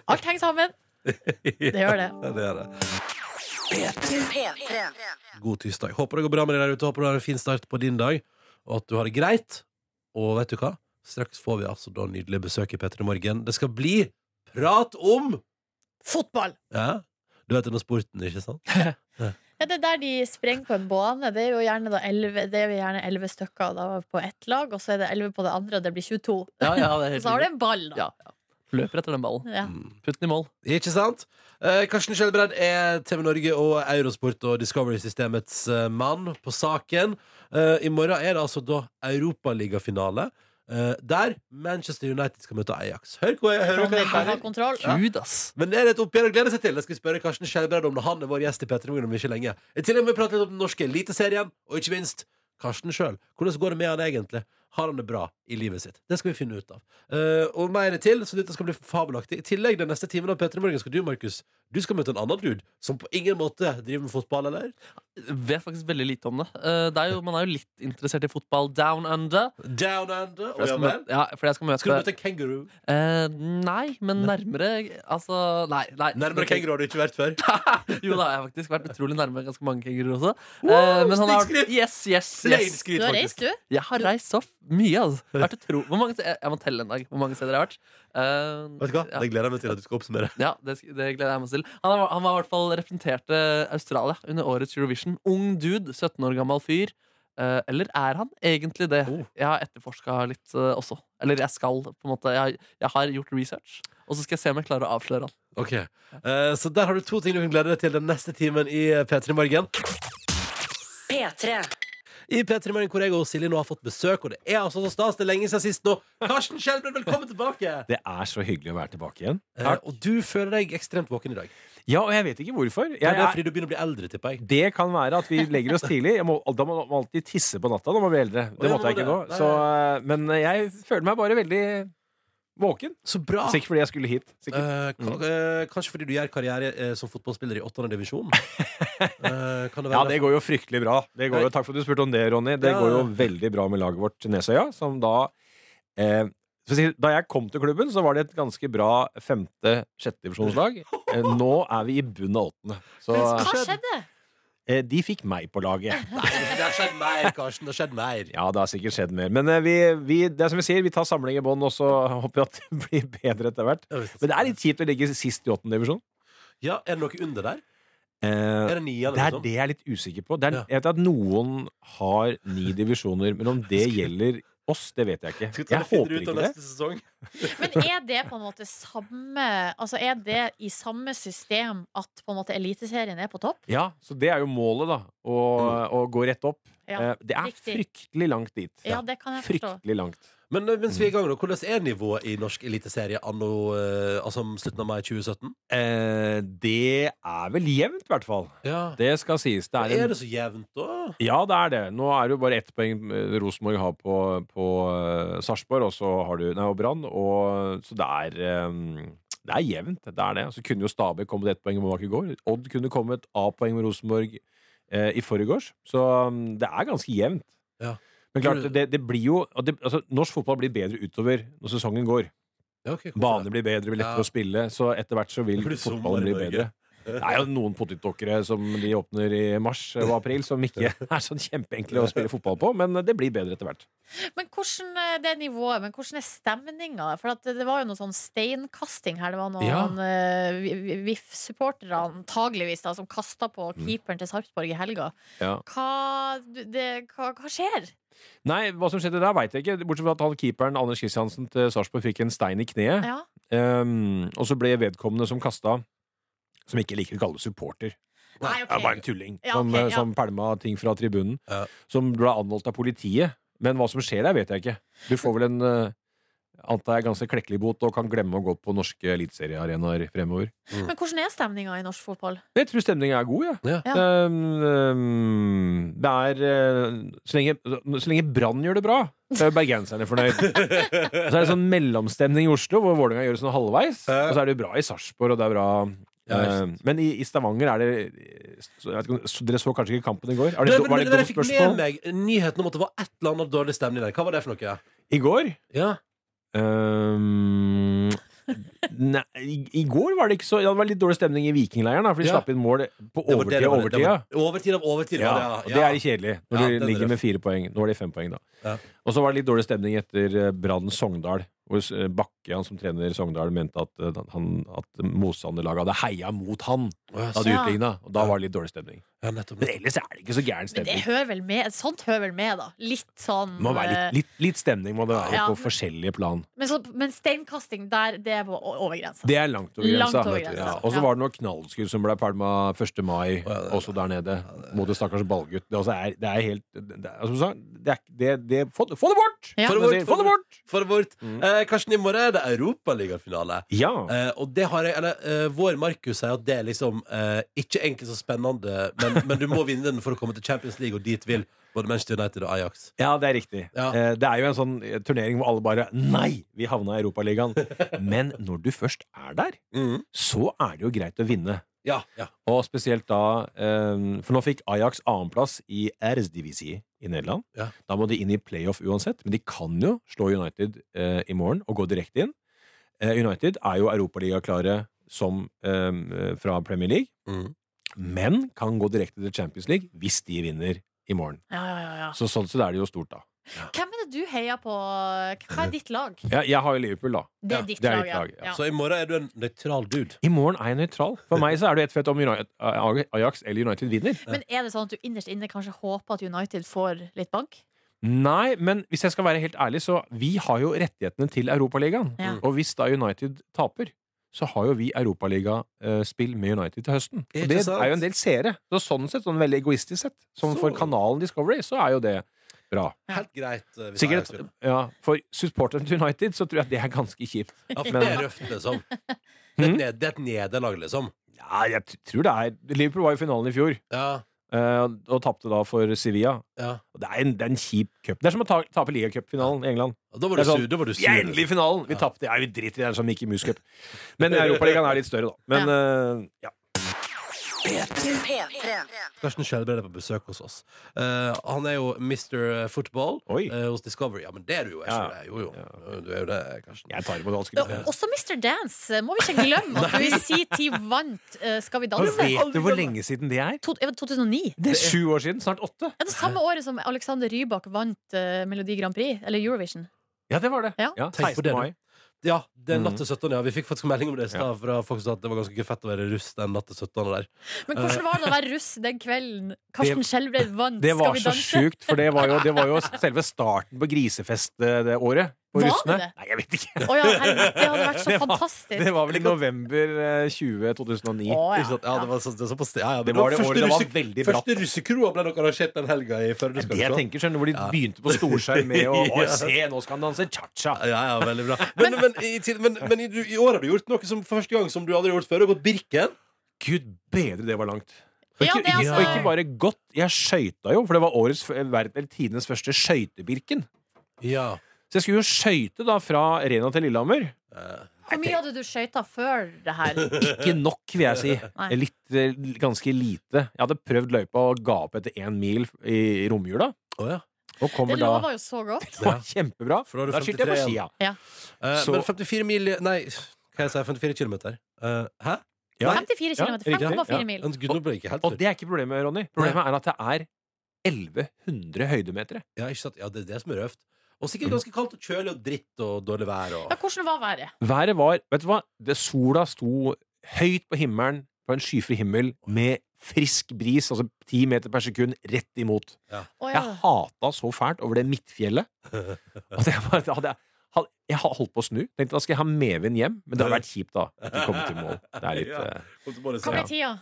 D: Alt henger sammen. Det gjør det.
B: Ja, det er det.
A: P3.
B: God tirsdag. Håper det går bra med deg der ute. Håper du har en fin start på din dag, og at du har det greit. Og vet du hva? Straks får vi altså da nydelig besøk i P3 Morgen. Det skal bli prat om
D: Fotball!
B: Ja, du vet denne sporten, ikke sant?
D: Ja, det er der de sprenger på en bane. Det er jo gjerne da 11, det er jo gjerne 11 stykker da, på ett lag, og så er det 11 på det andre, og det blir 22.
C: Ja, ja, det er
D: Og
C: helt
D: så har du
C: riktig.
D: en ball, da.
C: Ja, ja. Løper etter den ballen.
D: Ja.
C: Putt den i mål.
B: Ikke sant? Eh, Karsten Skjelbred er TV Norge og Eurosport og Discovery-systemets eh, mann på saken. Eh, I morgen er det altså da europaligafinale, uh, der Manchester United skal møte Ajax. Hør hva jeg hører. Hva jeg
D: Trondheim må ha
B: sier.
D: kontroll.
C: Gud, ass.
B: Men det er et oppgjør å glede seg til. Jeg skal spørre Karsten Skjelbred om det. Han er vår gjest i Petter Morgen om ikke lenge. I tillegg må vi prate litt om den norske eliteserien, og ikke minst Karsten sjøl. Hvordan går det med han egentlig? Har han det bra i livet sitt? Det skal vi finne ut av. Eh, og mer til, så dette skal bli fabelaktig. I tillegg, den neste timen av Petter Morgen skal du, Markus, du skal møte en annen dude som på ingen måte driver med fotball, eller?
C: Vet faktisk veldig lite om det. Eh, det er jo, man er jo litt interessert i fotball down under.
B: Down under.
C: For
B: Og ja
C: jeg skal
B: vel.
C: møte, ja, for jeg skal møte,
B: Skal du møte en kenguru?
C: Eh, Nei, men nærmere Altså, nei. nei.
B: Nærmere kenguru har du ikke vært før.
C: Jo, da har jeg faktisk vært utrolig nærme ganske mange kenguruer også. Eh, men han har
B: snikskritt!
C: Yes, yes, yes.
B: Reinskryt,
D: Du har
B: faktisk.
D: reist, du?
C: Jeg har reist så mye, altså. Vært utro... Hvor mange, jeg, jeg må telle en dag hvor mange steder jeg har vært. Eh,
B: Vet du hva?
C: Ja.
B: Det gleder jeg meg til at du skal oppsummere.
C: Ja, det, sk- det gleder jeg meg til. Han, var- han var i hvert fall representerte Australia under årets Eurovision. Ung dude, 17 år gammel fyr. Eh, eller er han egentlig det?
B: Oh.
C: Jeg har etterforska litt eh, også. Eller jeg skal, på en måte. Jeg, har- jeg har gjort research, og så skal jeg se om jeg klarer å avsløre han.
B: Ok, eh, Så der har du to ting du kan glede deg til den neste timen i P3 Morgen.
A: P3.
B: I P3 Morgen hvor jeg og Silje nå har fått besøk, og det er altså så stas. Det er lenge siden sist nå. Karsten Skjelbred, velkommen tilbake!
G: Det er så hyggelig å være tilbake igjen.
B: Eh, og du føler deg ekstremt våken i dag.
G: Ja, og jeg vet ikke hvorfor. Jeg
B: Det er
G: er,
B: fordi du begynner å bli eldre, tipper jeg.
G: det kan være at vi legger oss tidlig. Jeg må, da må man alltid tisse på natta når man blir eldre.
B: Å,
G: Det
B: ja,
G: måtte
B: må
G: jeg ikke nå.
B: det. Nei,
G: Så, eh, men jeg føler meg bare veldig våken.
B: Så bra!
G: Sikkert fordi jeg skulle hit. Sikkert.
B: Eh, kan, eh, kanskje fordi du gjør karriere eh, som fotballspiller i åttende divisjon? Eh, kan det
G: Ja,
B: være
G: det går jo fryktelig bra. Det går jo, takk for at du spurte om det, Ronny. Det
B: Ja.
G: går jo veldig bra med laget vårt Nesøya, som da eh, skal vi si, da jeg kom til klubben, så var det et ganske bra femte-sjettedivisjonslag. Eh, Nå er vi i bunnen av åttende. Så
D: Hva skjedde?
G: eh, de fikk meg på laget.
B: Det har skjedd mer, Karsten. Det har skjedd mer.
G: Ja, det har sikkert skjedd mer. Men eh, vi, vi, det er som vi sier, vi tar samling i bånn, og så håper vi at det blir bedre etter hvert. Men det er litt kjipt å ligge sist i åttende divisjon.
B: Ja, Er det noe under der?
G: Eh,
B: Er det nier?
G: det er
B: liksom?
G: det jeg er litt usikker på. Det er,
B: Ja.
G: jeg vet at noen har ni divisjoner, men om det gjelder oss, det vet jeg ikke.
B: Skal vi ta
G: Jeg
B: det finner
G: håper
B: ut av
G: ikke det.
B: neste sesong?
D: Men er det på en måte samme Altså er det i samme system at på en måte Eliteserien er på topp?
G: Ja, Så det er jo målet, da. Å,
B: Mm.
G: å gå rett opp.
D: Ja,
G: Eh, det er
D: riktig.
G: fryktelig langt dit.
D: ja det kan jeg forstå.
G: Fryktelig langt.
B: Men eh,
G: Mm.
B: mens vi er i gang, da, hvordan er nivået i norsk eliteserie anno eh, altså slutten av mai 2017?
G: Eh, det er vel jevnt, i hvert fall.
B: Ja.
G: Det skal sies. Det
B: Er,
G: er en
B: det så jevnt, da?
G: Ja, det er det. Nå er det jo bare ett poeng eh, Rosenborg har på, på eh, Sarpsborg, og så har du Nei, og Brann. og- Så det er eh, Det er jevnt, det er det. Så kunne jo Stabæk kommet ett poeng med Bak i går. Odd kunne kommet A-poeng med Rosenborg eh, i forgårs. Så mm, det er ganske jevnt.
B: Ja.
G: Men
B: Tror
G: klart,
B: du-
G: det, det blir jo og det, altså, Norsk fotball blir bedre utover når sesongen går.
B: Ja, ok, hvorfor
G: Baner
B: det?
G: blir bedre, blir lettere
B: Ja.
G: å spille, så etter hvert så vil
B: Det blir sommer i
G: fotballen bli
B: Norge.
G: bedre. Det er jo noen potetdokkere som de åpner i mars og april, som ikke er sånn kjempeenkle å spille fotball på, men det blir bedre etter hvert.
D: Men hvordan er det nivået? Men hvordan er stemninga? For at det var jo noe sånn steinkasting her. Det var
B: Ja.
D: noen eh, vi- vi- VIF-supportere antageligvis da, som kasta på
G: Mm.
D: keeperen til Sarpsborg i helga.
G: Ja.
D: Hva, du- det, hva, hva skjer?
G: Nei, hva som skjedde der, veit jeg ikke, bortsett fra at han keeperen Anders Kristiansen til Sarpsborg fikk en stein i kneet,
D: Ja.
G: ehm, og så ble vedkommende som kasta som ikke liker å kalle det supporter.
D: Nei, ok.
G: Det er bare en tulling
D: Ja,
G: som, eh,
D: ok, ja.
G: som pælma ting fra tribunen.
B: Ja.
G: Som ble anholdt av politiet. Men hva som skjer der, vet jeg ikke. Du får vel en eh, antar jeg ganske klekkelig bot og kan glemme å gå på norske eliteseriearenaer fremover.
D: Men hvordan er stemninga i norsk fotball?
G: Men Jeg tror stemningen er god, jeg.
B: Ja.
D: Ja.
G: Ehm, ehm, det er eh, Så lenge, så lenge Brann gjør det bra, så er jo bergenserne fornøyd. så er det sånn mellomstemning i Oslo, hvor Vålerenga gjør det sånn halvveis.
B: Ja.
G: Og så er det jo bra i Sarpsborg, og det er bra
B: Ja, ikke
G: eh, Men i, i Stavanger er det så, jeg vet ikke, om- så Dere så kanskje ikke kampen i går? Er det,
B: Nei, men
G: var
B: det
G: det
B: der
G: et
B: jeg fikk med
G: dumt spørsmål?
B: meg nyheten om at det var et eller annet dårlig stemning der. Hva var det for noe?
G: I går?
B: Ja.
G: Ehm, nei, i, I går var det ikke så ja, Det var litt dårlig stemning i vikingleiren, da, for de
B: Ja.
G: slapp inn mål på
B: Det var det
G: overtid.
B: det var- det
G: overtida.
B: var- Overtid av overtid,
G: Ja,
B: var
G: og
B: det,
G: det
B: ja.
G: er kjedelig når
B: Ja,
G: du
B: den er
G: ligger
B: røff.
G: med fire poeng. Nå er det fem poeng, da.
B: Ja.
G: Og så var det litt dårlig stemning etter eh, Brann Sogndal, hvor eh, Bakke Røkkian, som trener Sogndal, mente at, eh, han, at motstanderlaget hadde heia mot han.
B: Å,
G: Hadde
B: ja,
D: Ja.
G: utligna. Og da var det litt dårlig stemning.
B: ja, nettopp.
G: Men ellers er det ikke så gæren
D: Men det
G: stemning.
D: hører vel med, sånt hører vel med, da. Litt sånn
G: Det må være
D: eh,
G: litt, litt, litt stemning må det være
D: Ja.
G: på forskjellige plan.
D: Men, så, men steinkasting, der, det er på o- over grensa.
G: Det er langt over
D: Langt
G: grensa.
D: over grensa,
G: Ja. Og så
D: ja.
G: var det noe knallskudd som ble pælma 1. mai, også der nede, mot en stakkars ballgutt. Det, altså er, det er helt det, er- Som du sa, det er, det, det, få, det- få det bort!
D: Ja.
G: Få det bort! Få det bort!
B: For bort. Eh, Karsten, i morgen er det europaligafinale.
G: Mm. Ja.
B: Eh, og det har jeg, eller eh, Vår Markus sier at det er liksom eh, ikke egentlig så spennende, men, men du må vinne den for å komme til Champions League, og dit vil både Manchester United og Ajax.
G: ja, det er riktig.
B: Ja.
G: Eh, Det er jo en sånn eh, turnering hvor alle bare Nei, vi havna i Europaligaen. Men når du først er der,
B: Mhm.
G: så er det jo greit å vinne.
B: Ja, ja.
G: Og spesielt da eh, For nå fikk Ajax annenplass i RSDVC i Nederland.
B: Ja.
G: Da må de inn i playoff uansett, men de kan jo slå United eh, i morgen og gå direkte inn. Eh, United er jo europaligaklare som eh, fra Premier League,
B: Mhm.
G: men kan gå direkte til Champions League hvis de vinner i morgen.
D: Ja, ja, ja, ja.
G: Så sånn sett er det jo stort, da.
D: Hvem er det du heier på? Hva er ditt lag?
G: Ja, jeg har jo Liverpool, da.
D: Det
B: Ja,
D: er ditt
G: det er
D: lag,
G: ditt
D: ja.
G: lag, ja.
D: ja.
B: Så i morgen er du en nøytral dude.
G: I morgen er jeg nøytral. For meg så er det jo ett fett om United, Ajax eller United vinner.
D: Men er det sånn at du innerst inne kanskje håper at United får litt bank?
G: Nei, men hvis jeg skal være helt ærlig, så vi har jo rettighetene til Europaligaen.
D: Ja.
B: Mm.
G: Og hvis da United taper, så har jo vi europaligaspill med United til høsten. Og
B: Ikke
G: det
B: sant?
G: er jo en del seere. Så sånn sett, sånn veldig egoistisk sett, som
B: Så-
G: for kanalen Discovery, så er jo det bra.
B: Helt greit. eh, hvis
G: Sikkert,
B: Ajax vinner.
G: ja, For supporterne til United så tror jeg at det er ganske kjipt.
B: Ja, for
G: Men-
B: det er røft, liksom. Det er et, ned, det er et nederlag, liksom.
G: Ja, jeg t- tror det er Liverpool var i finalen i fjor,
B: Ja,
G: eh, og tapte da for Sevilla.
B: ja.
G: Og Det er en, det er en kjip cup. Det er som å ta, tape ligacupfinalen i England.
B: Og da var
G: Det
B: du
G: er
B: sur.
G: sånn,
B: Da var du
G: Vi
B: sur. liksom.
G: er endelig i finalen! Vi tapte. Ja, vi driter i den som Mickey Mouse Cup. Men Europaligaen er litt større, da. Men eh, ja.
A: P3.
B: Karsten Skjelbred er på besøk hos oss. Eh, han er jo Mr. Football
G: Oi.
B: eh, hos Discovery. Ja, men det er du jo. Jeg
G: Ja.
B: skjønner det. Jo, jo. Du er jo det, Karsten.
G: Jeg tar imot alt
D: Ja,
G: skryt.
D: Også Mr. Dance. Må vi ikke glemme at du i sin tid vant eh, Skal vi
G: Men
D: danse?
G: Vet du hvor lenge siden det er?
D: To, eh, 2009.
G: Det er sju år siden. Snart åtte.
D: Ja, det samme året som Alexander Rybak vant eh, Melodi Grand Prix, eller Eurovision.
G: Ja, det var det.
D: Ja.
B: Tenk på
G: 16.
B: det,
G: mai.
B: Ja, det er
G: Mhm.
B: natt til 17. Ja. Vi fikk faktisk melding om det i stad fra folk som sa at det var ganske fett å være russ den natt til 17. der.
D: Men hvordan var det å være russ den kvelden Karsten Skjelbred vant
G: Eh. Det
D: Skal
G: var
D: vi
G: så
D: danse?
G: sjukt, for det var jo, det var jo selve starten på grisefest eh, det året. På
D: Var det
G: russene.
D: det?
G: Nei, jeg vet ikke.
D: Å ja, herregud, det hadde vært så
G: Det var-
D: fantastisk.
G: Det var vel i november eh, 20 2009.
D: Å,
B: Ikke sant? Ja, det var så, det var såpass ja, ja, men
G: Det var det
B: første
G: året det var
B: russe-
G: veldig bratt.
B: Første russekroa ble nok arrangert den helga i Førde. skal
G: Det
B: du
G: jeg
B: se.
G: tenker, skjønner du, hvor de begynte på storskjerm med å Å,
B: Ja.
G: se, nå skal han danse cha-cha.
B: Ja, ja, veldig bra. Men, men, i, til- men, men i, du, i år har du gjort noe som for første gang som du aldri har gjort før. Du har gått Birken.
G: Gud bedre, det var langt. Og
D: Ja,
G: ikke,
D: det er altså-
G: og ikke bare godt, jeg skøyta jo, for det var årets, f- verden- eller tidenes første skøytebirken.
B: Ja.
G: Så jeg skulle jo skøyte da fra Rena til Lillehammer.
D: Hvor mye hadde du skøyta før det her?
G: Ikke nok, vil jeg si.
D: Nei.
G: Litt, eh, ganske lite. Jeg hadde prøvd løypa og ga opp etter én mil i i romjula.
B: Å, ja.
G: Og kommer
D: Det
G: da
D: lover jo så godt.
G: Det var kjempebra.
B: For da er du
G: Da skyldte jeg
B: 53
G: på
B: igjen.
G: skia.
B: Eh,
G: Så-
B: Men 54 mil Nei, hva jeg sa 54 kilometer. Eh, hæ?
G: Ja.
D: 54
G: Ja,
D: km.
G: riktig.
D: 5,4
G: Ja.
D: mil.
B: Men Gud, nå ble jeg ikke helt
G: Og
B: sur.
G: det er ikke problemet, Ronny. Problemet er at det er 1100 høydemetere.
B: Ja, ikke sant? ja, det er det som er røft. Og sikkert ganske kaldt og kjølig og dritt og dårlig vær og
D: Ja, hvordan var været?
G: Været var Vet du hva? Det sola sto høyt på himmelen, på en skyfri himmel, med frisk bris, altså ti meter per sekund, rett imot.
D: Å, ja.
G: Jeg hata så fælt over det midtfjellet at jeg bare da hadde jeg, hadde, jeg har holdt på å snu. Tenkte da skal jeg ha Meven hjem, men det hadde vært kjipt, da. Ikke komme til mål. Det er litt
B: Ja.
G: eh,
B: Og så bare
D: Hva
B: så-
D: ble tida?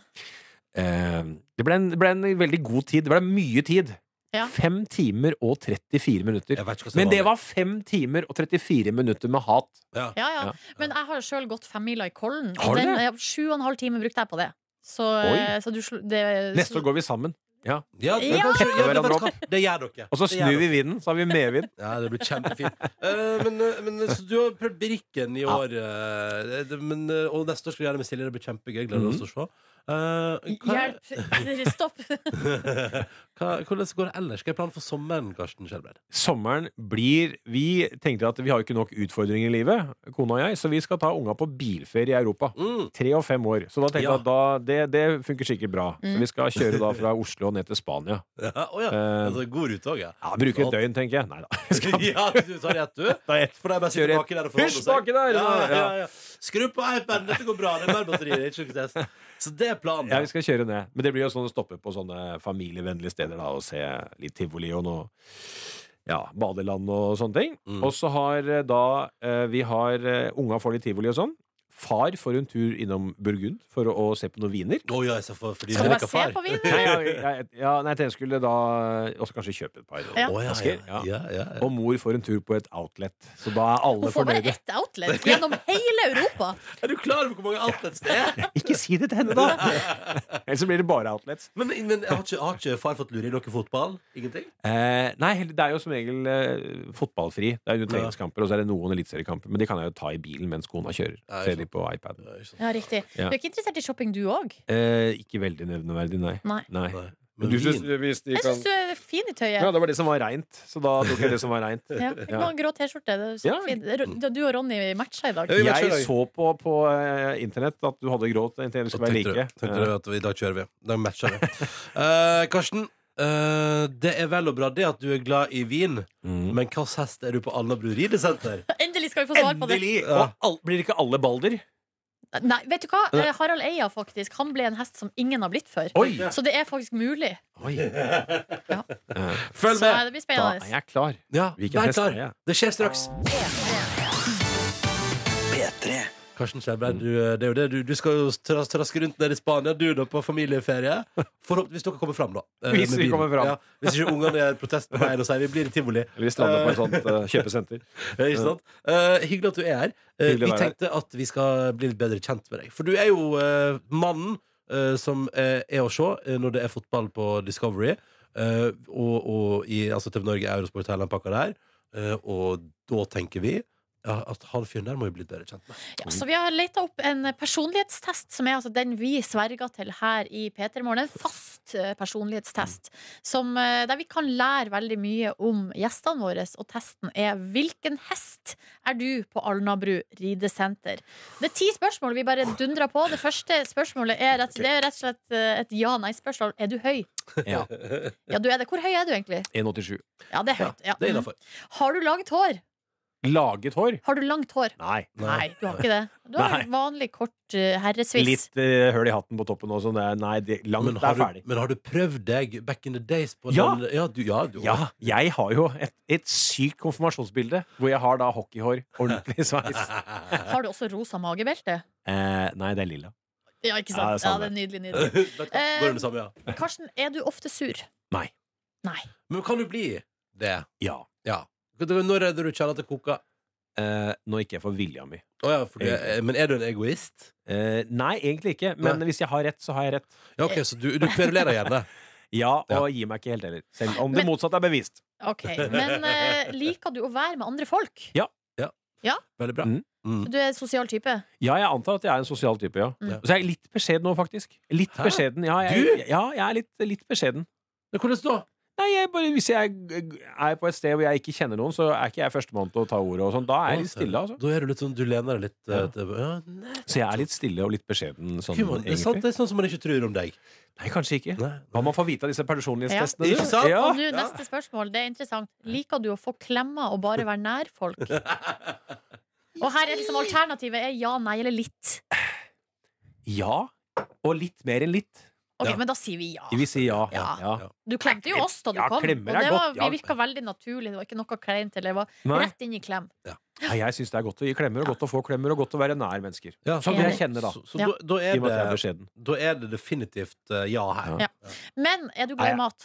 G: eh, det, ble en, det ble en veldig god tid. Det ble mye tid.
D: Ja.
G: Fem timer og 34 minutter.
B: Jeg vet ikke hva som
G: Men det
B: vanlig.
G: var fem timer og 34 minutter med hat.
B: ja.
D: Ja, ja.
G: Ja.
D: Men jeg har jo sjøl gått femmila i Kollen.
G: Har
D: Og
G: du
D: den,
G: det?
D: ja, sju og en halv time brukte jeg på det. Så, eh,
G: Oi.
D: så du slo det,
G: Neste år går vi sammen.
B: Ja, det,
D: Ja!
B: men-
G: Tette
B: ja, men
G: hverandre
B: vet du hva? det gjør dere.
G: Og så
B: Det gjør
G: snur vi
B: dere.
G: vinden, så har vi medvind.
B: Ja, det blir kjempefint. Eh, men, eh, men eh, så du har prøvd Birken i
G: Ja.
B: eh,
G: Mhm.
B: år, eh, det- men, eh, og neste år skal du gjøre det med Silje. Det blir kjempegøy. Gleder oss til å se. Eh, hva,
D: Hjelp! Stopp!
B: hva, hvordan går det ellers? Hva er planen for sommeren, Karsten Skjelbred?
G: Sommeren blir Vi tenkte at vi har ikke nok utfordringer i livet, kona og jeg, så vi skal ta unga på bilferie i Europa.
B: Mm.
G: Tre og fem år. Så da tenkte jeg
B: Ja.
G: at da, det, det funker sikkert bra. Så vi skal kjøre da fra Oslo og ned til Spania.
B: Ja, å ja.
G: Eh,
B: Altså, god rute òg, ja.
G: Ja, Bruke
B: Flott.
G: et døgn, tenker jeg. Nei da. Vi skal-
B: ja, du tar rett, du.
G: Ta ett.
B: For de bare sitter
G: Kjør
B: baki der og
G: Hysj, baki der!
B: Ja, ja, ja. Skru på iPaden, dette går bra. Det er mer batterier. det er ikke noe stress. Så det er planen.
G: Ja, vi skal kjøre ned. Men det blir jo sånn å stoppe på sånne familievennlige steder da, og se litt tivoli og noe ja, badeland og sånne ting.
B: Mm.
G: Og så har eh, da eh, Vi har eh, Unga får litt tivoli og sånn. Far får en tur innom Burgund for å, å se på noen viner.
B: Å ja, så for, fordi
D: Skal du
B: jeg
D: bare
B: liker
D: se
B: far.
D: på vinen?
G: Nei, jeg, jeg, ja, nei, jeg skulle da eh, også kanskje kjøpe et par.
D: Ja.
B: Å, ja, ja,
G: Asker, ja.
B: ja, ja, ja.
G: Og mor får en tur på et outlet. Så da er alle
D: Hun får bare
G: fornøyde.
D: ett outlet gjennom hele Europa!
B: Er du klar over hvor mange outlets det er?
G: Ikke si det til henne, da! Ellers så blir det bare outlets.
B: Men, men har, ikke, har ikke far fått lure i noe fotball? Ingenting?
G: Eh, nei, heller- det er jo som regel eh, fotballfri. Det er jo treningskamper, og så er det noen eliteseriekamper. Men de kan jeg jo ta i bilen mens kona kjører.
B: Ja,
G: Se
B: ikke
G: litt på iPad.
B: Nei, ikke sånn. sant.
D: Ja, riktig. Du
G: Ja.
D: er ikke interessert i shopping, du òg?
G: Eh, ikke veldig nevneverdig, nei.
D: Nei.
G: Nei.
B: Nei.
G: Men
B: Men
G: du synes,
B: vin?
G: hvis de
D: Jeg
G: kan
D: syns du er fin i tøyet.
G: Ja, det var det som var reint, så da tok jeg det som var reint.
D: Ja. Du
G: Ja.
D: har en grå T-skjorte. Det er så
G: Ja.
D: fint. Det er- Du og Ronny matcha i dag.
B: Ja, vi matcher i
G: Jeg
B: dag.
G: så på på eh, internett at du hadde grått. Jeg tenkte
B: Så
G: Vi skulle være
B: tenkte
G: like.
B: du, tenkte du at i dag kjører vi. Da matcher vi. Eh, Karsten, eh, det er vel og bra det at du er glad i vin,
G: Mm.
B: men hvilken hest er du på Alnabru ridesenter?
D: Endelig skal vi få svar på det.
G: Endelig!
B: Ja.
G: Og all, blir ikke alle Balder?
D: Nei, vet du hva?
G: Nei.
D: Eh, Harald Eia faktisk, han ble en hest som ingen har blitt før.
G: Oi!
D: Så det er faktisk mulig.
B: Følg
D: Så eh,
B: med!
D: det blir
G: Da er
D: spennende.
G: jeg klar.
B: Ja,
G: Hvilken
B: vær
G: hest
B: klar.
G: er jeg?
B: Det skjer straks. Karsten Skjelbreid, du, eh, det er jo det. Du, du skal jo tras traske rundt nede i Spania, du da, på familieferie. Forhåpentligvis dere kommer fram, da. eh,
G: Hvis
B: med
G: vi
B: bilen.
G: kommer fram.
B: Ja, hvis ikke ungene gjør protest på veien og sier vi blir i tivoli.
G: Vi strander på et sånt eh, kjøpesenter.
B: Eh, Ikke sant? Eh, hyggelig at du er her. Eh,
G: Hyggelig å
B: vi
G: være her.
B: tenkte at vi skal bli litt bedre kjent med deg. For du er jo eh, mannen eh, som eh, er å se eh, når det er fotball på Discovery. eh, og og i altså, TV Norge, Eurosport, hele den pakka der. Eh, og da tenker vi ja, at han fyren der må vi bli litt bedre kjent med.
D: Ja, så vi har leta opp en personlighetstest, som er altså den vi sverger til her i P3 Morgen. En fast eh, personlighetstest som, eh, der vi kan lære veldig mye om gjestene våre. Og testen er 'Hvilken hest er du på Alnabru ridesenter?' Det er ti spørsmål vi bare dundrer på. Det første spørsmålet er rett, det er rett og slett eh, et ja-nei-spørsmål. Er du høy?
G: Ja.
D: Ja, du er det. Hvor høy er du egentlig?
G: 1,87.
D: Ja, det er høyt. Ja. mhm.
B: Det er innafor.
D: Har du langt hår?
G: Laget hår?
D: Har du langt hår?
G: Nei.
D: Nei, du har ikke det. Du har
G: Nei.
D: vanlig kort eh, herresviss.
G: Litt eh, høl i hatten på toppen og sånn. det er- Nei, det, langt
B: Men
G: det er
B: har,
G: ferdig.
B: du, men har du prøvd deg back in the days på
G: Ja.
B: den? Ja, du, ja, du,
G: Ja, jeg har jo et, et sykt konfirmasjonsbilde hvor jeg har da hockeyhår. Ordentlig sveis.
D: Har du også rosa magebelte?
G: Eh, nei, det er lilla.
D: Ja, ikke
G: Ja, det er
D: sant? Ja,
G: sant,
D: det er nydelig, nydelig.
B: Går det samme, ja.
D: Karsten, er du ofte sur?
G: Nei.
D: Nei.
B: Men kan du bli det?
G: Ja.
B: Ja. Når er det du kjenner at det koker?
G: Eh, nå ikke jeg får vilja mi.
B: Å ja, for du, er- men er du en egoist?
G: Eh, nei, egentlig ikke. Men
B: Nei.
G: hvis jeg har rett, så har jeg rett.
B: Ja, ok, så du, du kverulerer gjerne.
G: Ja, og
B: Ja.
G: gir meg ikke helt heller. Selv om
D: Men-
G: det motsatte er bevist.
D: Ok, Men eh, liker du å være med andre folk?
B: Veldig bra.
G: Mm.
B: Mm.
D: Du er en sosial type.
G: Ja, jeg antar at jeg er en sosial type, ja.
D: Mm.
G: Så jeg er litt beskjeden nå, faktisk. Litt
B: Hæ?
G: beskjeden. Ja, jeg, ja, jeg er litt, litt beskjeden.
B: Men hvordan da?
G: Nei, jeg bare, Hvis jeg er på et sted hvor jeg ikke kjenner noen, så er ikke jeg førstemann til å ta ordet. og sånn. Da er jeg litt stille, altså.
B: Da er du litt sånn, du lener deg litt eh,
G: Ja.
B: til- ja, nei,
G: Så jeg er litt stille og litt beskjeden sånn,
B: Gud, det, er sant,
G: egentlig.
B: det er sånn som man ikke tror om deg.
G: Nei, kanskje ikke.
B: Nei.
G: Hva man får vite av disse
B: Ja.
G: personlighetstestene. du.
B: Ikke sant?
G: Ja.
D: Og nå, neste spørsmål, det er interessant. Liker du å få klemmer og bare være nær folk? Og her er liksom alternativet er ja, nei eller litt.
G: ja. Og litt mer enn litt.
D: Ok,
B: Ja.
D: Men da sier vi ja.
G: Vi sier ja.
D: Ja.
G: ja.
D: Du klemte jo oss da du
G: Ja,
D: kom, og
G: klemmer er
D: det var,
G: godt,
D: vi
G: ja.
D: virka veldig naturlig. Det var ikke noe kleint. eller Det var
G: Nei.
D: rett inn i klem.
G: Nei, jeg syns det er godt å gi klemmer, og godt å få klemmer, og godt å være nær mennesker.
B: Ja,
G: Sånn Som
D: Enig.
G: jeg kjenner, da.
B: Så, så
D: Ja.
B: da, da,
G: I og med at jeg er
B: er det,
G: beskjeden.
B: da er det definitivt eh, ja her.
G: Ja.
D: Men er du glad
G: Nei,
D: i mat?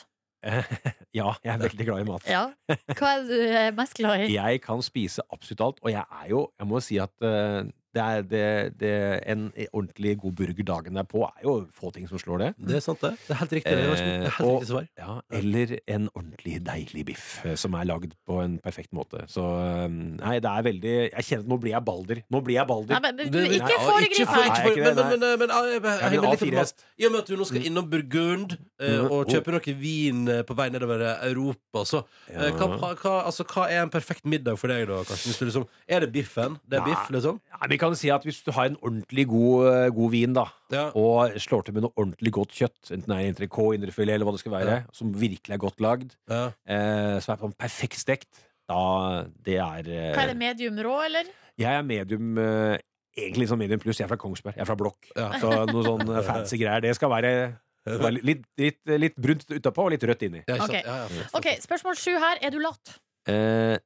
G: Ja, jeg er veldig glad i mat.
D: Ja. Hva er du eh, mest glad i?
G: Jeg kan spise absolutt alt, og jeg er jo Jeg må si at eh, det er det, det, en ordentlig god burger dagen derpå er jo få ting som slår det.
B: Det er sant, det. Det er helt riktig. Det, Vær så god. det er
G: Eh,
B: helt
G: og-
B: riktig svar.
G: Ja, eller en ordentlig deilig biff eh, som er lagd på en perfekt måte. Så eh, nei, det er veldig Jeg kjenner at nå blir jeg balder. Nå blir jeg balder.
D: Nei, men, men, du,
B: Det-
D: ikke
B: Nei,
D: foregrip
B: for-
D: meg!
G: Nei,
B: ikke for-
G: ikke det,
B: Men, men, men, men, ah, jeg- jeg
G: en
B: henger litt i det,
G: A4-hest.
B: Mats. I og med at du nå
D: Mm.
B: skal innom Burgund eh,
G: Mm.
B: og kjøpe noe vin eh, på vei nedover Europa, så eh,
G: Ja.
B: hva, hva- hva, altså, hva er en perfekt middag for deg, da, Karsten? Hvis du liksom, er det biffen? Det er
G: Nei.
B: biff, liksom?
G: Nei, vi kan si at hvis du har en ordentlig god, eh, god vin, da,
B: Ja.
G: og slår til med noe ordentlig godt kjøtt, enten det er entrecôte, indrefilet eller hva det skal være, som virkelig er godt lagd,
B: ja.
G: eh, som er på en perfekt stekt, da det er eh,
D: Hva er det, medium rå, eller?
G: Jeg er medium eh, Egentlig sånn medium pluss. Jeg er fra Kongsberg. Jeg er fra Blokk.
B: Ja.
G: Så noe sånn fancy greier. Det skal være, det skal være litt, litt, litt brunt utapå og litt rødt inni.
B: Ja, ikke sant?
D: Ok.
B: Ja, ja, flott, flott.
D: Ok, Spørsmål sju her. Er du lat?
G: Eh,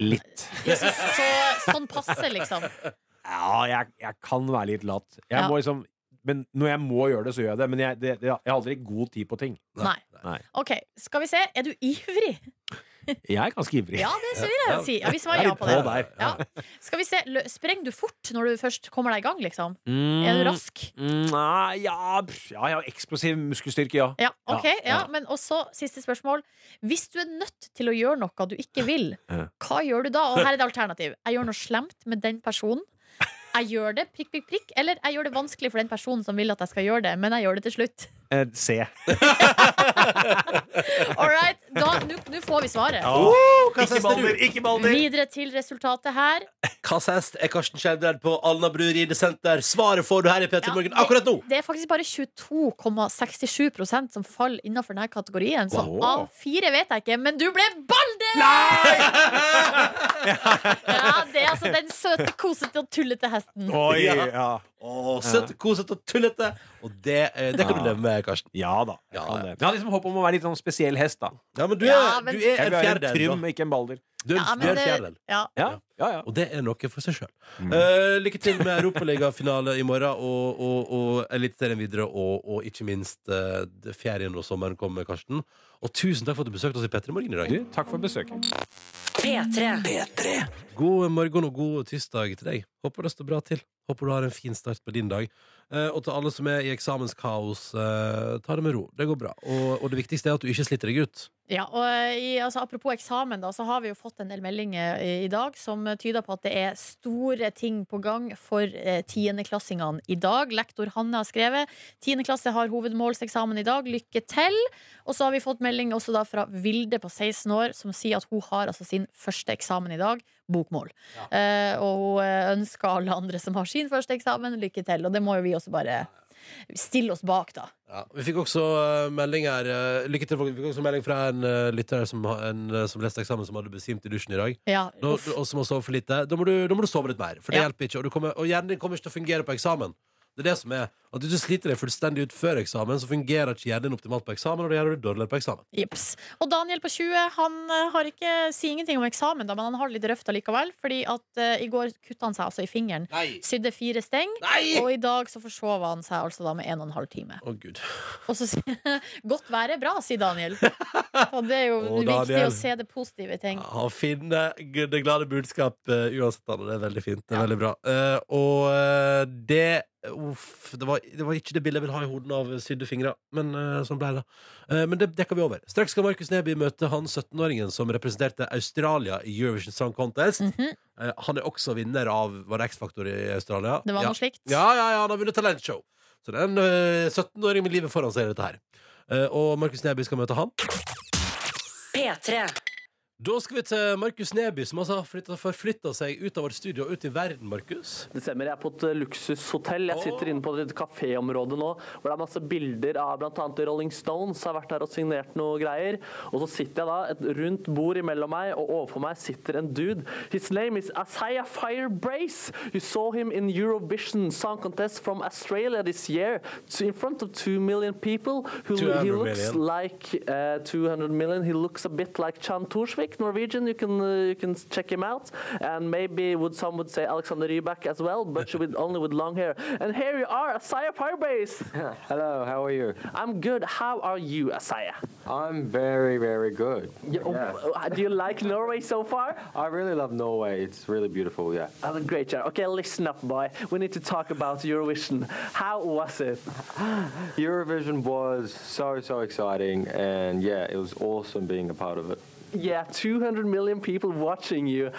G: litt.
D: Jeg synes Så, sånn passe, liksom.
G: Ja, jeg, jeg kan være litt lat. Jeg
D: Ja.
G: må liksom men når jeg må gjøre det, så gjør jeg det. Men jeg, det, det, jeg har aldri god tid på ting.
D: Nei.
G: Nei.
D: Ok, Skal vi se. Er du ivrig?
G: Jeg er ganske ivrig.
D: Ja, det vil jeg jo si. Ja, vi
G: Jeg
D: svarer
G: er
D: ja
G: litt
D: på
G: på
D: det.
G: der.
D: Ja. Skal vi se. lø- Sprenger du fort når du først kommer deg i gang, liksom?
G: Mm,
D: Er du rask?
G: mm, nei, ja, pff, ja, jeg har eksplosiv muskelstyrke, ja.
D: Ja, ok,
G: Ja,
D: ja,
G: ja.
D: Men også siste spørsmål. Hvis du er nødt til å gjøre noe du ikke vil,
G: Ja.
D: hva gjør du da? Og her er det alternativ. Jeg gjør noe slemt med den personen. Jeg gjør det, prikk, prikk, prikk. Eller jeg gjør det vanskelig for den personen som vil at jeg skal gjøre det, men jeg gjør det til slutt.
G: Eh, se.
D: All right, da, nå- Nå får vi svaret.
G: ikke balder, ikke balder!
D: Videre til resultatet her.
B: Hva sest er Karsten Skjelbred på Alnabru ridesenter? Svaret får du her i P3
D: Ja,
B: Morgen akkurat nå!
D: Det er faktisk bare 22,67 som faller innafor denne kategorien. Så
G: Wow.
D: A4 vet jeg ikke, men du ble Balder! ja, det er altså den søte, kosete og tullete hesten.
G: Oi,
B: Ja.
G: ja.
B: Å, Søtt, kosete og tullete. Og det, eh, det kan du
G: Ja.
B: leve med, Karsten.
G: Ja da. Jeg,
B: Ja,
G: kan
B: ja.
G: det. Men jeg hadde liksom håp om å være litt sånn spesiell hest, da.
B: Ja, men du er,
D: Ja, men-
B: du er
G: Jeg
B: en
G: vil være en
B: fjerdedel.
G: trym,
B: da.
G: ikke en balder.
B: Du er en-
D: Ja, men
B: du er en
D: det-
B: fjerdedel.
D: Ja.
G: Ja, ja, ja.
B: Og det er noe for seg sjøl.
G: Mm.
B: lykke til med Europaliga-finale i morgen og, og, og Eliteserien videre, og, og ikke minst eh, det ferien og sommeren kommer, Karsten. Og tusen takk for at du besøkte oss i P3 Morgen i dag.
G: Du, takk for besøket.
A: P3.
B: God morgen og god tirsdag til deg. Håper det står bra til. Håper du har en fin start på din dag. Eh, og til alle som er i eksamenskaos, eh, ta det med ro. Det går bra. Og, og det viktigste er at du ikke sliter deg ut.
D: Ja, og i, altså, Apropos eksamen, da, så har vi jo fått en del meldinger eh, i, i dag som tyder på at det er store ting på gang for eh, tiendeklassingene i dag. Lektor Hanne har skrevet tiendeklasse har hovedmålseksamen i dag, lykke til. Og så har vi fått melding også da fra Vilde på 16 år som sier at hun har altså sin første eksamen i dag, bokmål. Eh, og hun eh, ønsker alle andre som har sin første eksamen, lykke til. Og det må jo vi også bare stille oss bak, da.
B: Ja, vi fikk også eh, melding her eh, Lykke til, folkens. Vi fikk også melding fra en eh, lytter her som, ha- en, eh, som leste eksamen, som hadde besvimt i dusjen i dag.
D: Ja,
B: Nå,
D: uff.
B: og som har sovet for lite. Da må, du, da må du sove litt mer, for det
D: Ja.
B: hjelper ikke. Og, du kommer, og hjernen din kommer ikke til å fungere på eksamen. Det er det som er At du sliter deg fullstendig ut før eksamen, så fungerer ikke hjernen din optimalt på eksamen, og da gjør du det dårligere på eksamen.
D: Jips. Og Daniel på 20 han eh, har ikke, sier ingenting om eksamen, da, men han har det litt røft allikevel. Fordi at eh, i går kutta han seg altså i fingeren. Sydde fire steng. Og i dag så forsov han seg altså da med en og en halv time.
B: Å, gud.
D: Og så sier Godt være bra, sier Daniel. Og det er jo
B: Å,
D: viktig
B: Daniel.
D: å se det positive i ting.
B: Han finner g- det glade budskap eh, uansett, Anne. Det er veldig fint. Det er veldig bra. Eh, og eh, det Uff. Det var, det var ikke det bildet jeg vil ha i hodet av sydde fingre, men eh, sånn ble det. Eh, men det dekker vi over. Straks skal Markus Neby møte han 17-åringen som representerte Australia i Eurovision Song Contest.
D: Mhm.
B: Eh, han er også vinner av Var det X-Faktor i Australia?
D: Det var
B: ja.
D: noe slikt.
B: Ja, ja, ja, han har vunnet talentshow. Så det er en eh, 17-åring med livet foran seg i dette her. Eh, og Markus Neby skal møte han.
A: P3.
B: Da skal vi til Markus Neby, som altså har forflytta seg ut av vårt studio og ut i verden, Markus.
H: Det stemmer. Jeg er på et eh, luksushotell. Jeg sitter inne på et kaféområde nå hvor det er masse bilder av bl.a. Rolling Stones. Har vært her og signert noe greier. Og så sitter jeg da et rundt bord imellom meg, og overfor meg sitter en dude. His name is Asaya Firebrace. You saw him in Eurovision Song Contest from Australia this year. So In front of two million people. Who,
B: 200
H: he looks
B: million.
H: like uh, 200 million. He looks a bit like Chan Torsvik. Nick Norwegian. You can uh, you can check him out, and maybe would some would say Alexander Rybak as well, but with only with long hair. And here you are, Asaya Firebase.
I: Hello, how are you?
H: I'm good. How are you, Asaya?
I: I'm very, very good.
H: You- uh, Do you like Norway so far?
I: I really love Norway. It's really beautiful, yeah.
H: Oh, great job. Okay, listen up, boy. We need to talk about Eurovision. How was it?
I: Eurovision was so, so exciting, and yeah, it was awesome being a part of it.
H: Yeah, 200 million people watching you.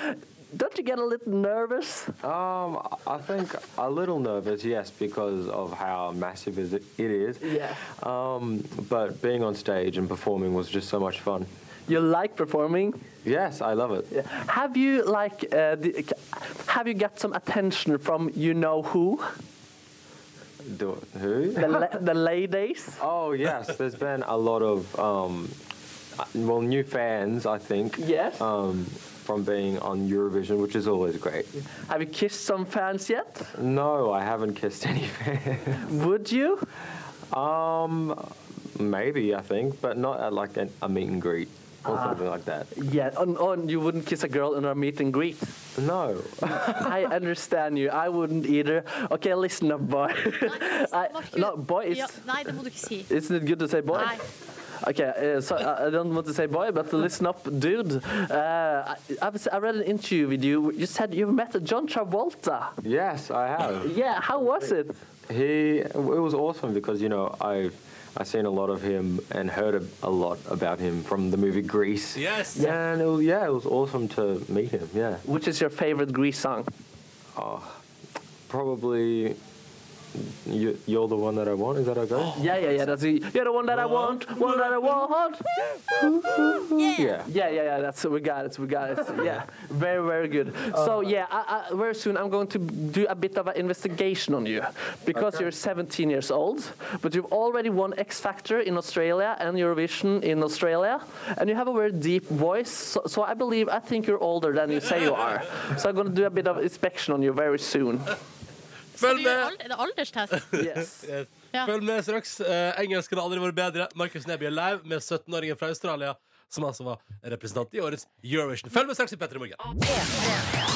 H: Don't you get a little nervous?
I: Um, I think a little nervous, yes, because of how massive is it it is.
H: Yeah.
I: Um, but being on stage and performing was just so much fun.
H: You like performing?
I: Yes, I love it.
H: Yeah. Have you like uh, the, have you got some attention from you know who?
I: Do who?
H: The, la- the ladies?
I: Oh yes, there's been a lot of um, uh, well new fans, I think.
H: Yes.
I: Um, from being on Eurovision, which is always great.
H: Have you kissed some fans yet?
I: No, I haven't kissed any fans.
H: Would you?
I: Um, maybe I think, but not at like an, a meet and greet or something like that.
H: Yeah, on, on you wouldn't kiss a girl in our meet and greet.
I: No.
H: I understand you. I wouldn't either. Okay, listen up, boy. I,
D: var ikke-
H: no, boy is.
D: altså, Ja, nei, det må du ikke si.
H: Isn't it good to say boy?
D: Nei.
H: Okay, uh, so I, I don't want to say boy, but listen up, dude. Uh, I, I, was- I read an interview with you. You said you've met John Travolta.
I: Yes, I have.
H: Yeah, how was it?
I: He. It was awesome because you know I've. I've seen a lot of him and heard a, a lot about him from the movie Grease.
B: Yes.
I: And it was, yeah, it was awesome to meet him. Yeah.
H: Which is your favorite Grease song?
I: Probably you, you're the one that I want. Is that okay?
H: Yeah, yeah, yeah. That's the, you're the one that I want, one that I want.
I: Yeah.
H: Yeah, yeah, yeah. That's we got it. We got it. Yeah, very, very good. So yeah, I, I, very soon I'm going to do a bit of an investigation on you because you're 17 years old, but you've already won X Factor in Australia and Eurovision in Australia, and you have a very deep voice. So, so I believe I think you're older than you say you are. So I'm going to do a bit of inspection on you very soon.
D: Skal du
B: Følg
D: gjøre
B: med!
D: alder, er det alderstest?
H: Yes.
D: Ja.
B: Eh, Følg med straks. Eh, engelsken har aldri vært bedre. Markus Neby er live med 17-åringen fra Australia, som altså var representant i årets Eurovision. Følg med straks i P3 Morgen.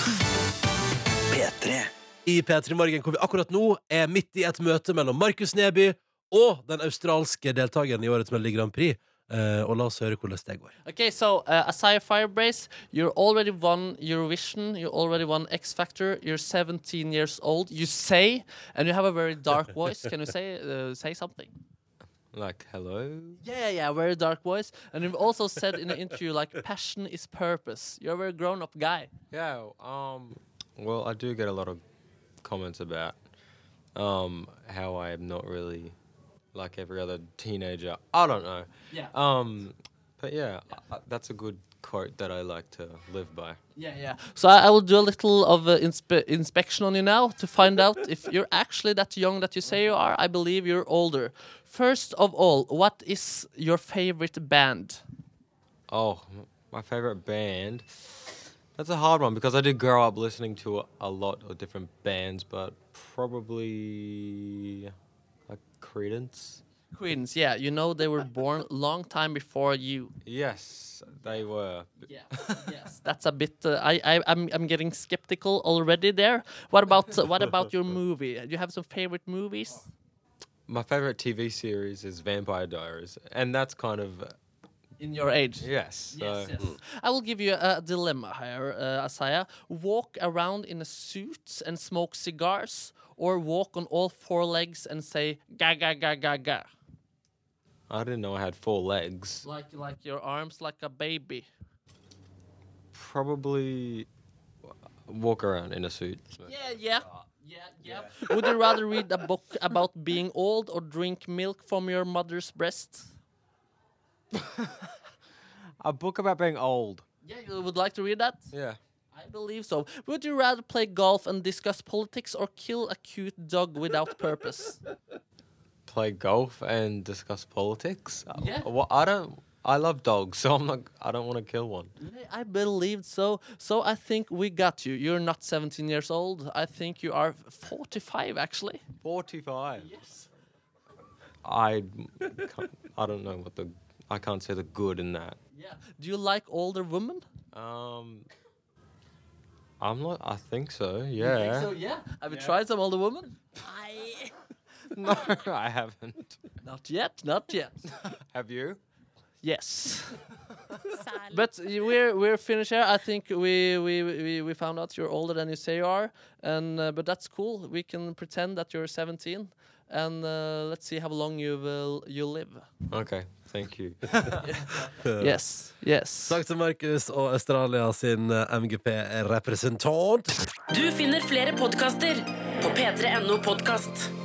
B: I P3 Morgen, hvor vi akkurat nå er midt i et møte mellom Markus Neby og den australske deltakeren i årets Melodi Grand Prix. Eh, og la oss høre hvordan det går.
C: Okay, so uh, Asaya Firebrace, you're already won Eurovision, you already won X Factor, you're 17 years old, you say, and you have a very dark voice. Can you say uh, say something?
G: Like, hello?
C: Yeah, yeah, very dark voice. And you've also said in an interview, like, passion is purpose. You're a very grown up guy.
I: Yeah. Um. Well, I do get a lot of comments about um how I am not really like every other teenager. I don't know.
C: Yeah.
I: Um. But yeah, I, I- that's a good quote that I like to live by.
C: Yeah, yeah. So I, I will do a little of uh, inspe- inspection on you now to find out if you're actually that young that you say you are. I believe you're older. First of all, what is your favorite band?
I: Oh, m- my favorite band. That's a hard one because I did grow up listening to a, a lot of different bands, but probably like Credence.
C: Queens, yeah, you know they were born long time before you.
I: Yes, they were.
C: Yeah, yes, that's a bit. Uh, I, I, I'm, I'm getting skeptical already there. What about, uh, what about your movie? Do you have some favorite movies?
I: My favorite TV series is Vampire Diaries, and that's kind of
C: In your age?
I: yes. So
C: Yes, yes. I will give you a dilemma here, uh, Asaya. Walk around in a suit and smoke cigars, or walk on all four legs and say ga ga ga ga ga,
I: I didn't know I had four legs.
C: like like your arms like a baby.
I: Probably walk around in a suit.
C: Yeah, yeah. Yeah, yeah. Would you rather read a book about being old or drink milk from your mother's breast?
I: A book about being old.
C: Yeah, you would like to read that?
I: Yeah.
C: I believe so. Would you rather play golf and discuss politics or kill a cute dog without purpose?
I: Play golf and discuss politics. Uh,
C: Yeah.
I: Well, I don't. I love dogs, so I'm not. I don't want to kill one.
C: I believed so. So I think we got you. You're not 17 years old. I think you are 45, actually.
I: Forty-five. Yes. I. can't- I don't know what the. I can't say the good in that.
C: Do you like older women?
I: Um, I'm not. I think so. Yeah.
C: So yeah. Have you tried some older women?
I: No, I haven't.
C: Not yet. Not yet.
I: Have you?
C: yes.
D: Særlig.
C: But we're we're finished here. I think we we, we, we found out you're older than you say you are, and uh, but that's cool. We can pretend that you're 17, and uh, let's see how long you will you live.
I: Okay. Thank you.
C: Yes, yes.
B: Takk til Markus og Australia sin eh, MGP-representant.
A: Du finner flere podkaster på p3.no podkast.